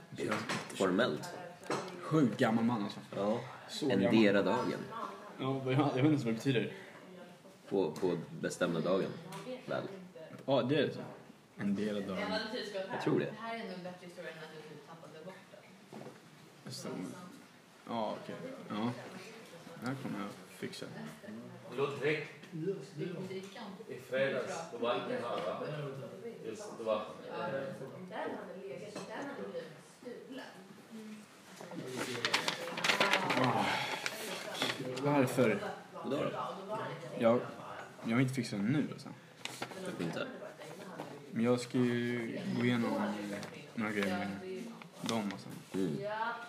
Speaker 2: Björn Pettersson.
Speaker 1: Formellt.
Speaker 2: Sjukt gammal man alltså.
Speaker 1: Ja.
Speaker 2: Så gammal.
Speaker 1: Endera dagen.
Speaker 2: Ja, jag jag vet inte ens vad det betyder.
Speaker 1: På, på bestämda dagen. Väl.
Speaker 2: Ja, det är det så. En del av dagen.
Speaker 1: Jag tror det.
Speaker 8: Det här är nog en bättre historia än att du typ tappade bort den.
Speaker 2: Stor. Ja, okej. Ja. Det här kommer jag fixa.
Speaker 6: Ludvig,
Speaker 8: Dykan.
Speaker 6: i fredags, då var inte här va? Just, det var...
Speaker 2: Varför?
Speaker 1: Vadå då?
Speaker 2: Jag, jag har inte fixat den nu alltså.
Speaker 1: Typ inte.
Speaker 2: Men jag ska ju gå igenom några grejer med dem alltså.
Speaker 1: Mm.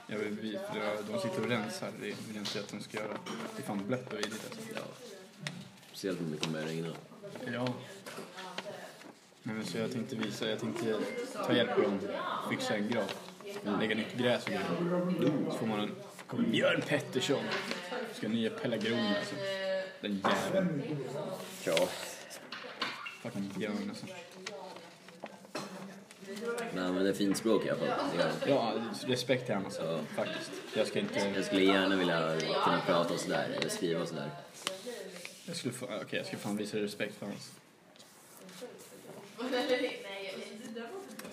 Speaker 2: Jag vill bevisa, för jag- de sitter och rensar. Det vill jag inte att de ska göra. Det är fan blött och vidrigt alltså.
Speaker 1: Ja. Speciellt om det kommer regna.
Speaker 2: Ja. Nej, men så jag tänkte visa, jag tänkte ta hjälp av dem, fixa en grav. Lägga nytt gräs och grejer. Så får man en, kommer Björn Pettersson. Ska ha nya pelargoner alltså. Den jäveln.
Speaker 1: Ja.
Speaker 2: Fucking Björn alltså.
Speaker 1: Nej men det är fint språk i alla fall. Det är-
Speaker 2: Ja, respekt till honom alltså.
Speaker 1: Ja.
Speaker 2: Faktiskt. Jag ska inte,
Speaker 1: Jag skulle gärna vilja kunna prata och sådär, eller skriva och sådär.
Speaker 2: jag skulle få, okej jag ska fan visa respekt för honom.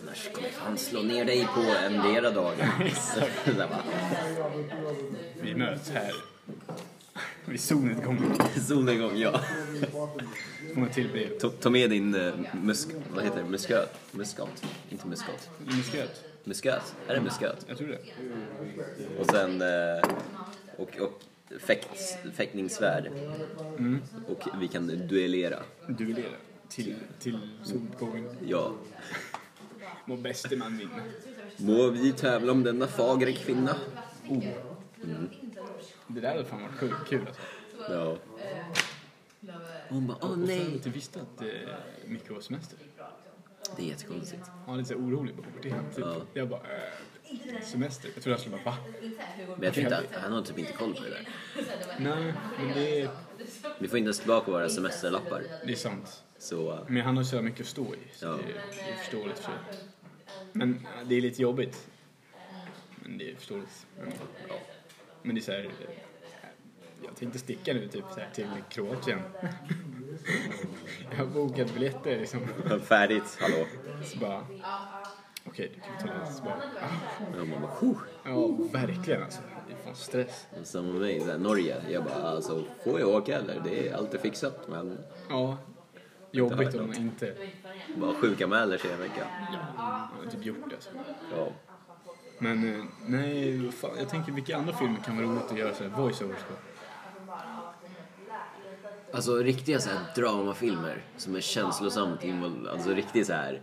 Speaker 1: Annars kommer fan slå ner dig på endera dagen. Så där bara,
Speaker 2: Vi möts här. Vid solnedgången.
Speaker 1: Solen kom, ja.
Speaker 2: Så får man till brev.
Speaker 1: Ta, ta med din eh, musk... Vad heter det? Musköt? Muskat? Inte muskat.
Speaker 2: Musköt.
Speaker 1: Musköt? Är det musköt?
Speaker 2: Jag tror det.
Speaker 1: Och sen... Eh, och, och fäkts, fäktningssvärd. Och vi kan duellera.
Speaker 2: Duellera. Till, till solgången.
Speaker 1: Ja.
Speaker 2: Må bäste man vinna.
Speaker 1: Må vi tävla om denna fagre kvinna?
Speaker 2: Det där hade fan varit sjukt kul alltså.
Speaker 1: Ja. Hon bara, åh
Speaker 2: Och sen
Speaker 1: nej.
Speaker 2: inte visste att eh, Micke var semester.
Speaker 1: Det är jättekonstigt.
Speaker 2: Han var lite så här orolig. Bara, "Vart är han?" typ.
Speaker 1: Ja.
Speaker 2: Jag bara, eh, semester? Jag trodde han skulle bara, va?
Speaker 1: Men jag tror inte, att- han har typ inte koll på det där.
Speaker 2: Nej, men det är,
Speaker 1: Vi får inte ens tillbaka våra semesterlappar.
Speaker 2: det är sant.
Speaker 1: Så... eh,
Speaker 2: Men han har så jävla mycket att stå i. Så
Speaker 1: Ja.
Speaker 2: det, är, det är förståeligt för Men eh, det är lite jobbigt. Men det är förståeligt. Men, ja. men det är så här, eh, jag tänkte sticka nu typ så här, till Kroatien. jag har bokat biljetter liksom.
Speaker 1: Färdigt, hallå.
Speaker 2: Så bara, okej, du kan ta det. Så bara, "Ah."
Speaker 1: Ja, man bara, "Huh."
Speaker 2: ja verkligen alltså. Det är fan stress.
Speaker 1: Och Samma med mig, så här, Norge. Jag bara, alltså får jag åka eller? Det är alltid fixat. Men
Speaker 2: Ja, jobbigt om man inte
Speaker 1: bara sjukanmäler sig en vecka.
Speaker 2: har typ gjort det. Alltså.
Speaker 1: Ja.
Speaker 2: Men eh, nej, vad fan, jag tänker vilka andra filmer kan vara roligt att göra så här voice-overs på?
Speaker 1: Alltså riktiga så här dramafilmer som är känslosamt involverade. Alltså riktigt så här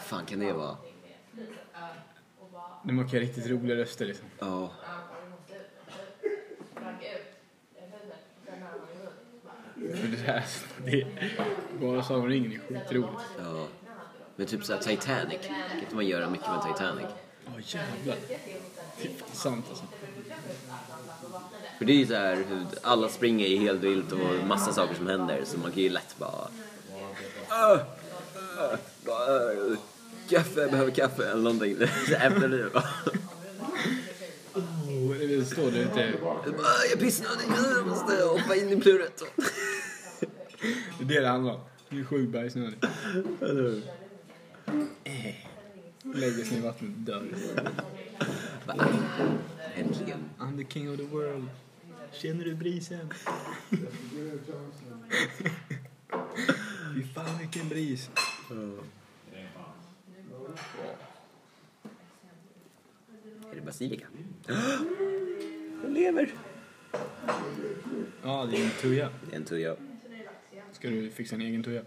Speaker 1: fan kan det vara?
Speaker 2: De har ju riktigt roliga röster liksom.
Speaker 1: Ja.
Speaker 2: För det här, det är, bara Sagan om ringen är skitroligt.
Speaker 1: ja. Men typ såhär Titanic. Kan inte man göra mycket med Titanic?
Speaker 2: Ja jävlar. Det är fan sant alltså.
Speaker 1: För det är ju såhär hur alla springer i helvilt och massa saker som händer så man kan ju lätt bara... "Åh, åh, åh, Kaffe, jag behöver kaffe eller någonting. Så Efter det bara...
Speaker 2: Och det vill stå där ute.
Speaker 1: "Åh, Jag är pissnödig, jag måste hoppa in i pluret.
Speaker 2: Det är det det handlar om. Det är sjukt bergsnödig. Eh, Lägger sig i vattnet och dör.
Speaker 1: Bara, Äntligen.
Speaker 2: I'm the king of the world. Känner du brisen? Fy fan vilken bris.
Speaker 1: Är det basilika? Jag lever!
Speaker 2: Ja, det är en tuja.
Speaker 1: Det är en tuja.
Speaker 2: Ska du fixa en egen tuja?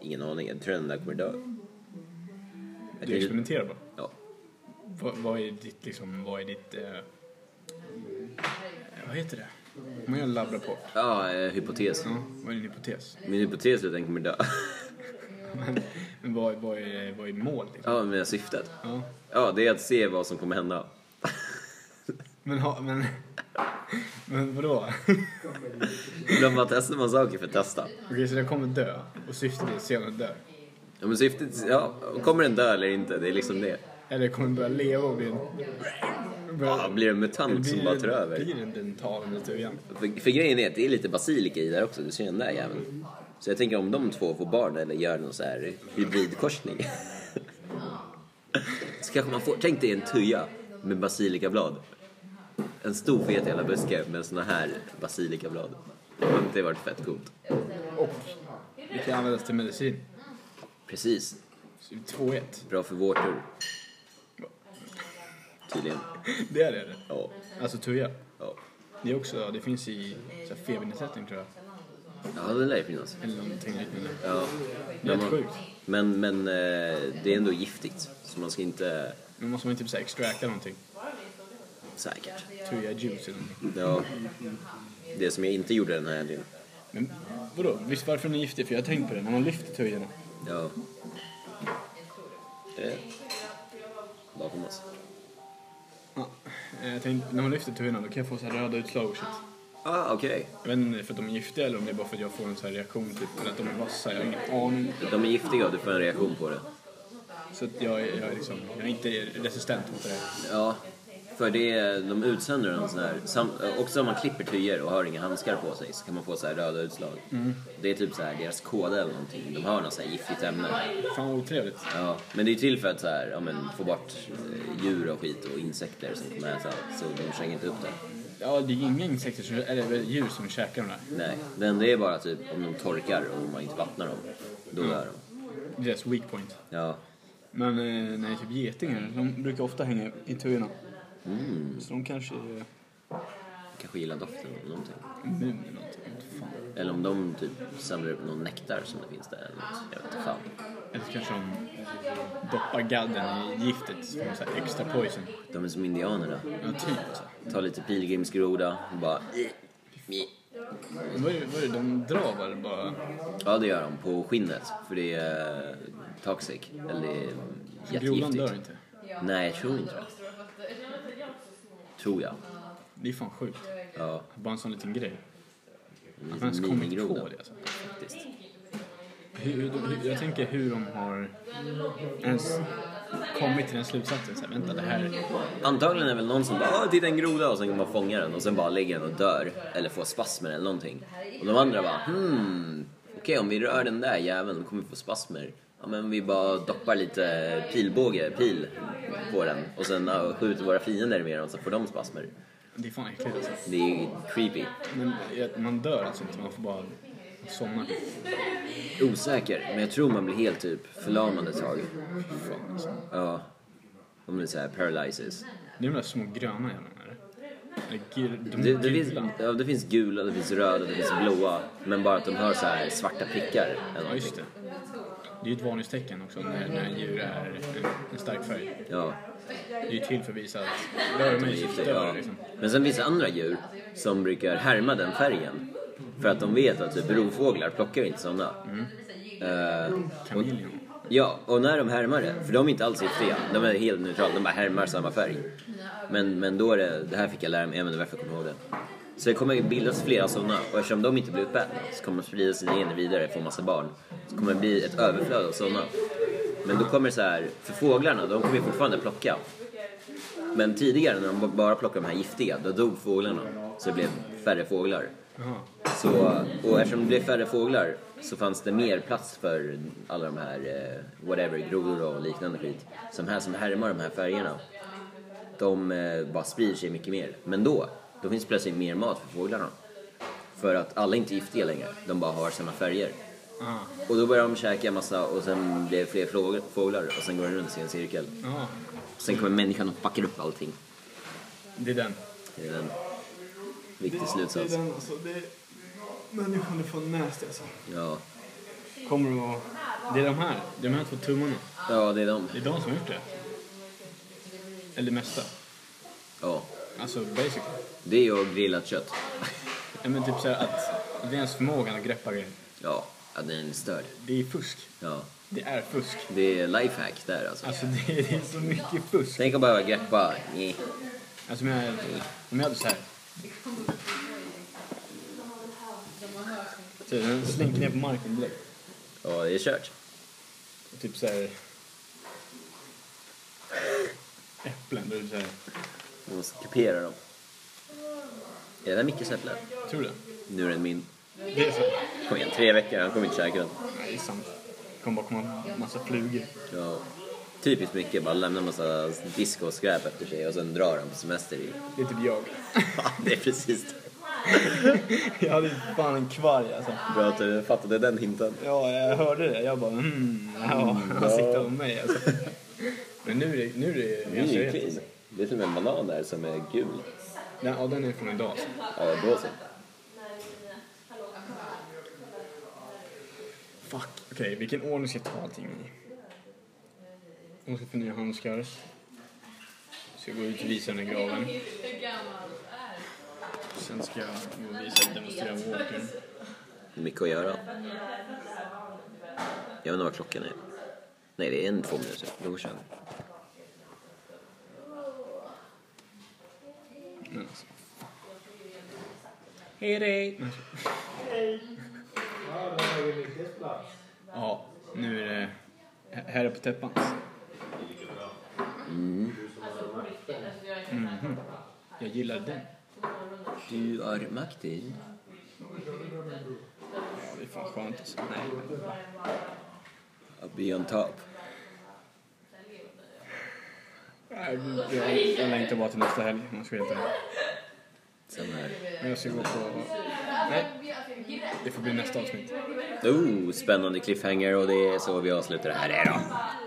Speaker 1: Ingen aning, jag tror den där kommer dö. Jag
Speaker 2: Du
Speaker 1: tänker,
Speaker 2: experimenterar bara.
Speaker 1: ja,
Speaker 2: Vad, vad är ditt, liksom, vad är ditt... Eh, vad heter det? Man gör en labbrapport.
Speaker 1: ja eh, hypotes.
Speaker 2: Ja, vad är din hypotes?
Speaker 1: Min hypotes är att den kommer dö.
Speaker 2: Men vad, vad, är, vad är mål liksom?
Speaker 1: Ja, men syftet.
Speaker 2: Ja.
Speaker 1: Ja, det är att se vad som kommer hända.
Speaker 2: Men, ha, men, men vadå?
Speaker 1: Ibland bara testar man saker för att testa.
Speaker 2: Okej, så den kommer dö och syftet är att se om den dör.
Speaker 1: Ja, men syftet, ja, kommer den dö eller inte? Det är liksom det.
Speaker 2: Eller kommer den börja leva och bli en...
Speaker 1: Ja, blir det en mutant som bara tar över?
Speaker 2: Blir det en dental eller tujan?
Speaker 1: För, för grejen är att det är lite basilika i där också, du ser den där jäveln. Så jag tänker om de två får barn eller gör någon så här hybridkorsning. så kanske man får, tänk dig en tuja med basilikablad. En stor fet jävla buske med såna här basilikablad. Det hade inte varit fett coolt.
Speaker 2: Det kan användas till medicin. Typ
Speaker 1: Precis,
Speaker 2: Så 2-1.
Speaker 1: bra för vårtor. Tydligen.
Speaker 2: Det är det eller?
Speaker 1: Ja.
Speaker 2: Alltså tuja.
Speaker 1: Ja,
Speaker 2: Det är också, det finns i så här, febernedsättning tror jag.
Speaker 1: ja det lär ju finnas.
Speaker 2: Eller någonting liknande.
Speaker 1: Ja.
Speaker 2: Det är rätt sjukt.
Speaker 1: Men, men eh, det är ändå giftigt. Så man ska inte...
Speaker 2: Men måste man typ såhär extracta någonting?
Speaker 1: Säkert.
Speaker 2: Tuja juice eller någonting.
Speaker 1: Ja. Det som jag inte gjorde den här helgen.
Speaker 2: Men vadå? Visst varför den är giftig? För jag har tänkt på det. När man lyfter tujorna.
Speaker 1: Ja. Eh. Bakom oss.
Speaker 2: Ja. eh, Jag tänkte, när man lyfter tujorna då kan jag få så här röda utslag och shit.
Speaker 1: Ah, okej.
Speaker 2: Jag vet inte om det är för att de är giftiga eller om det är bara för att jag får en sån här reaktion typ. Eller att de är vassa. Jag har ingen aning.
Speaker 1: De är giftiga och du får en reaktion på det.
Speaker 2: Så att jag, är- jag, är liksom, jag är inte resistent mot det här.
Speaker 1: Ja. För det är, de utsänder en sån här... Sam, också om man klipper tyger och har inga handskar på sig så kan man få så här röda utslag. Det är typ så här deras kod eller någonting. De har något så här giftigt ämne.
Speaker 2: Fan vad otrevligt.
Speaker 1: Ja, men det är ju till för att så här, ja, men, få bort eh, djur och skit och insekter som kommer äta så de slänger inte upp det.
Speaker 2: Ja, det är inga insekter som, eller väl djur som käkar de där.
Speaker 1: Nej, det enda är bara typ om de torkar och om man inte vattnar dem, då
Speaker 2: Mm.
Speaker 1: dör de.
Speaker 2: Det är deras weak point.
Speaker 1: Ja,
Speaker 2: Men eh, nej, typ getingar, de brukar ofta hänga i tujorna. Så de kanske är
Speaker 1: kanske gillar doften eller någonting.
Speaker 2: immun eller någonting. Jag vet inte fan.
Speaker 1: Eller om de typ samlar upp någon nektar som det finns där eller något. Jag vet inte fan.
Speaker 2: Eller så kanske de doppar gadden i giftet så får de så här extra poison.
Speaker 1: De är som indianerna.
Speaker 2: Ja, typ alltså.
Speaker 1: Ta lite pilgrimsgroda och bara...
Speaker 2: Vad är, det- vad är det, de drar väl bara?
Speaker 1: Ja, det gör de på skinnet för det är eh, toxic, eller det är
Speaker 2: Grodan dör
Speaker 1: jättegiftigt.
Speaker 2: inte.
Speaker 1: Nej, jag tror inte det. Tror jag.
Speaker 2: Det är fan sjukt.
Speaker 1: Ja,
Speaker 2: Bara en sån liten grej.
Speaker 1: en
Speaker 2: Att man ens
Speaker 1: liten
Speaker 2: kommit
Speaker 1: minigroda.
Speaker 2: på det alltså.
Speaker 1: faktiskt.
Speaker 2: Hur, hur, jag tänker hur de har ens kommit till den slutsatsen. Så här, vänta, det här...
Speaker 1: Antagligen är väl någon som bara "Åh, “titta en groda” och sen kan man fånga den och sen bara lägger den och dör eller får spasmer eller någonting. Och de andra bara “hmm, okej om vi rör den där jäveln kommer vi få spasmer. Ja men vi bara doppar lite pilbåge, pil på den och sen ja, skjuter våra fiender med den så får de spasmer.
Speaker 2: Det är fan äckligt alltså.
Speaker 1: Det är ju creepy.
Speaker 2: Men eh, man dör alltså inte, man får bara somna.
Speaker 1: Osäker, men jag tror man blir helt typ förlamad ett tag.
Speaker 2: Fan, alltså.
Speaker 1: Ja. Om det är såhär paralysis.
Speaker 2: Det är de där små gröna jävlarna eller? Eller gul, de
Speaker 1: Det,
Speaker 2: det,
Speaker 1: det, finns,
Speaker 2: Mm. gula.
Speaker 1: ja, det finns gula, det finns röda, det finns blåa. Men bara att de har så här svarta prickar eller
Speaker 2: Ja just
Speaker 1: någonting.
Speaker 2: det. Det är ju ett varningstecken också när, när djur är stark färg.
Speaker 1: Ja.
Speaker 2: Det är ju till för att visa att rör
Speaker 1: De är
Speaker 2: mig
Speaker 1: gifter,
Speaker 2: dör
Speaker 1: ja.
Speaker 2: liksom.
Speaker 1: Men sen finns det andra djur som brukar härma den färgen. För att de vet att typ rovfåglar plockar ju inte sådana. Eh,
Speaker 2: Kameleon.
Speaker 1: ja, och när de härmar det, för de är inte alls giftiga, de är helt neutrala, de bara härmar samma färg. Men, men då är det, det här fick jag lära mig, ja men det är därför jag kommer ihåg det. Så det kommer bildas flera sådana och eftersom de inte blir uppätna så kommer de sprida sina gener vidare och få massa barn. Så kommer det bli ett överflöd av sådana. Men då kommer det så här, för fåglarna, de kommer ju fortfarande plocka. Men tidigare när de b- bara plockade de här giftiga, då dog fåglarna. Så det blev färre fåglar. Så, och eftersom det blev färre fåglar så fanns det mer plats för alla de här eh, whatever, grodor och liknande skit. Som här som härmar de här färgerna. De eh, bara sprider sig mycket mer. Men då, då finns plötsligt mer mat för fåglarna. För att alla är inte giftiga längre, de bara har samma färger. Och då börjar de käka massa och sen blir det fler flåg- fåglar och sen går det runt i en cirkel.
Speaker 2: Ja,
Speaker 1: Sen kommer människan och packar upp allting.
Speaker 2: det är den.
Speaker 1: Det är en viktig slutsats.
Speaker 9: den alltså. Det är... Människan är fan nasty alltså.
Speaker 1: Ja.
Speaker 2: Kommer det vara... Det är de här. Det är de här två tummarna.
Speaker 1: ja, det är de.
Speaker 2: Det är de som har gjort det. Eller det mesta.
Speaker 1: Ja.
Speaker 2: Alltså basically.
Speaker 1: Det och grillat kött.
Speaker 2: Ja, men typ så här att, att det är ens förmågan att greppa grejer.
Speaker 1: Ja, att den är störd.
Speaker 2: Det är fusk.
Speaker 1: Ja.
Speaker 2: Det är fusk.
Speaker 1: Det är lifehack där alltså.
Speaker 2: Alltså det är, det är så mycket fusk.
Speaker 1: Tänk att behöva greppa. Nej.
Speaker 2: Alltså om jag, om jag hade så här. Så den slinker ner på marken direkt.
Speaker 1: Ja, det är kört.
Speaker 2: Och typ så här. Äpplen. Då är det så här.
Speaker 1: Man måste kupera dem. Är det där Mickes äpple?
Speaker 2: Tror du det?
Speaker 1: Nu är den min.
Speaker 2: Det är så.
Speaker 1: Kom igen, tre veckor. Han kommer inte käka den.
Speaker 2: Nej, det är sant. Det kommer bara komma massa flugor.
Speaker 1: Ja. Typiskt mycket bara lämna massa disk och skräp efter sig och sen drar han på semester i.
Speaker 2: Det är typ jag.
Speaker 1: Ja, det är precis det.
Speaker 2: Jag hade ju fan en kvarg alltså.
Speaker 1: Bra att du fattade den hinten.
Speaker 2: Ja, jag hörde det. Jag bara mm, ja, han siktade på mig alltså. Men nu är det, nu är det,
Speaker 1: Det är ju
Speaker 2: jag ser
Speaker 1: clean. Det är till och med en banan där som är gul.
Speaker 2: den, ja, den är från idag alltså.
Speaker 1: Ja, då så.
Speaker 2: Fuck. Okej, vilken ordning ska jag ta allting i? Jag ska få nya handskar. Ska gå ut och visa den här graven. Sen ska jag gå och visa och demonstrera walkern.
Speaker 1: Det är mycket att göra. Jag undrar vad klockan är. Nej, det är en, två minuter. Då kör vi.
Speaker 2: Men alltså,
Speaker 10: Hej dig!
Speaker 2: ja, nu är det... här- Här är på täppan. Mhm. Jag gillar den.
Speaker 1: Du är Martin.
Speaker 2: Ja, det är fan skönt alltså. Nej,
Speaker 1: I'll be on top.
Speaker 2: Jag, jag, jag längtar bara till nästa helg om jag ska vara helt ärlig.
Speaker 1: Sen här.
Speaker 2: Men jag ska gå på... Nej, det får bli nästa avsnitt.
Speaker 1: Oh, spännande cliffhanger och det är så vi avslutar det här idag.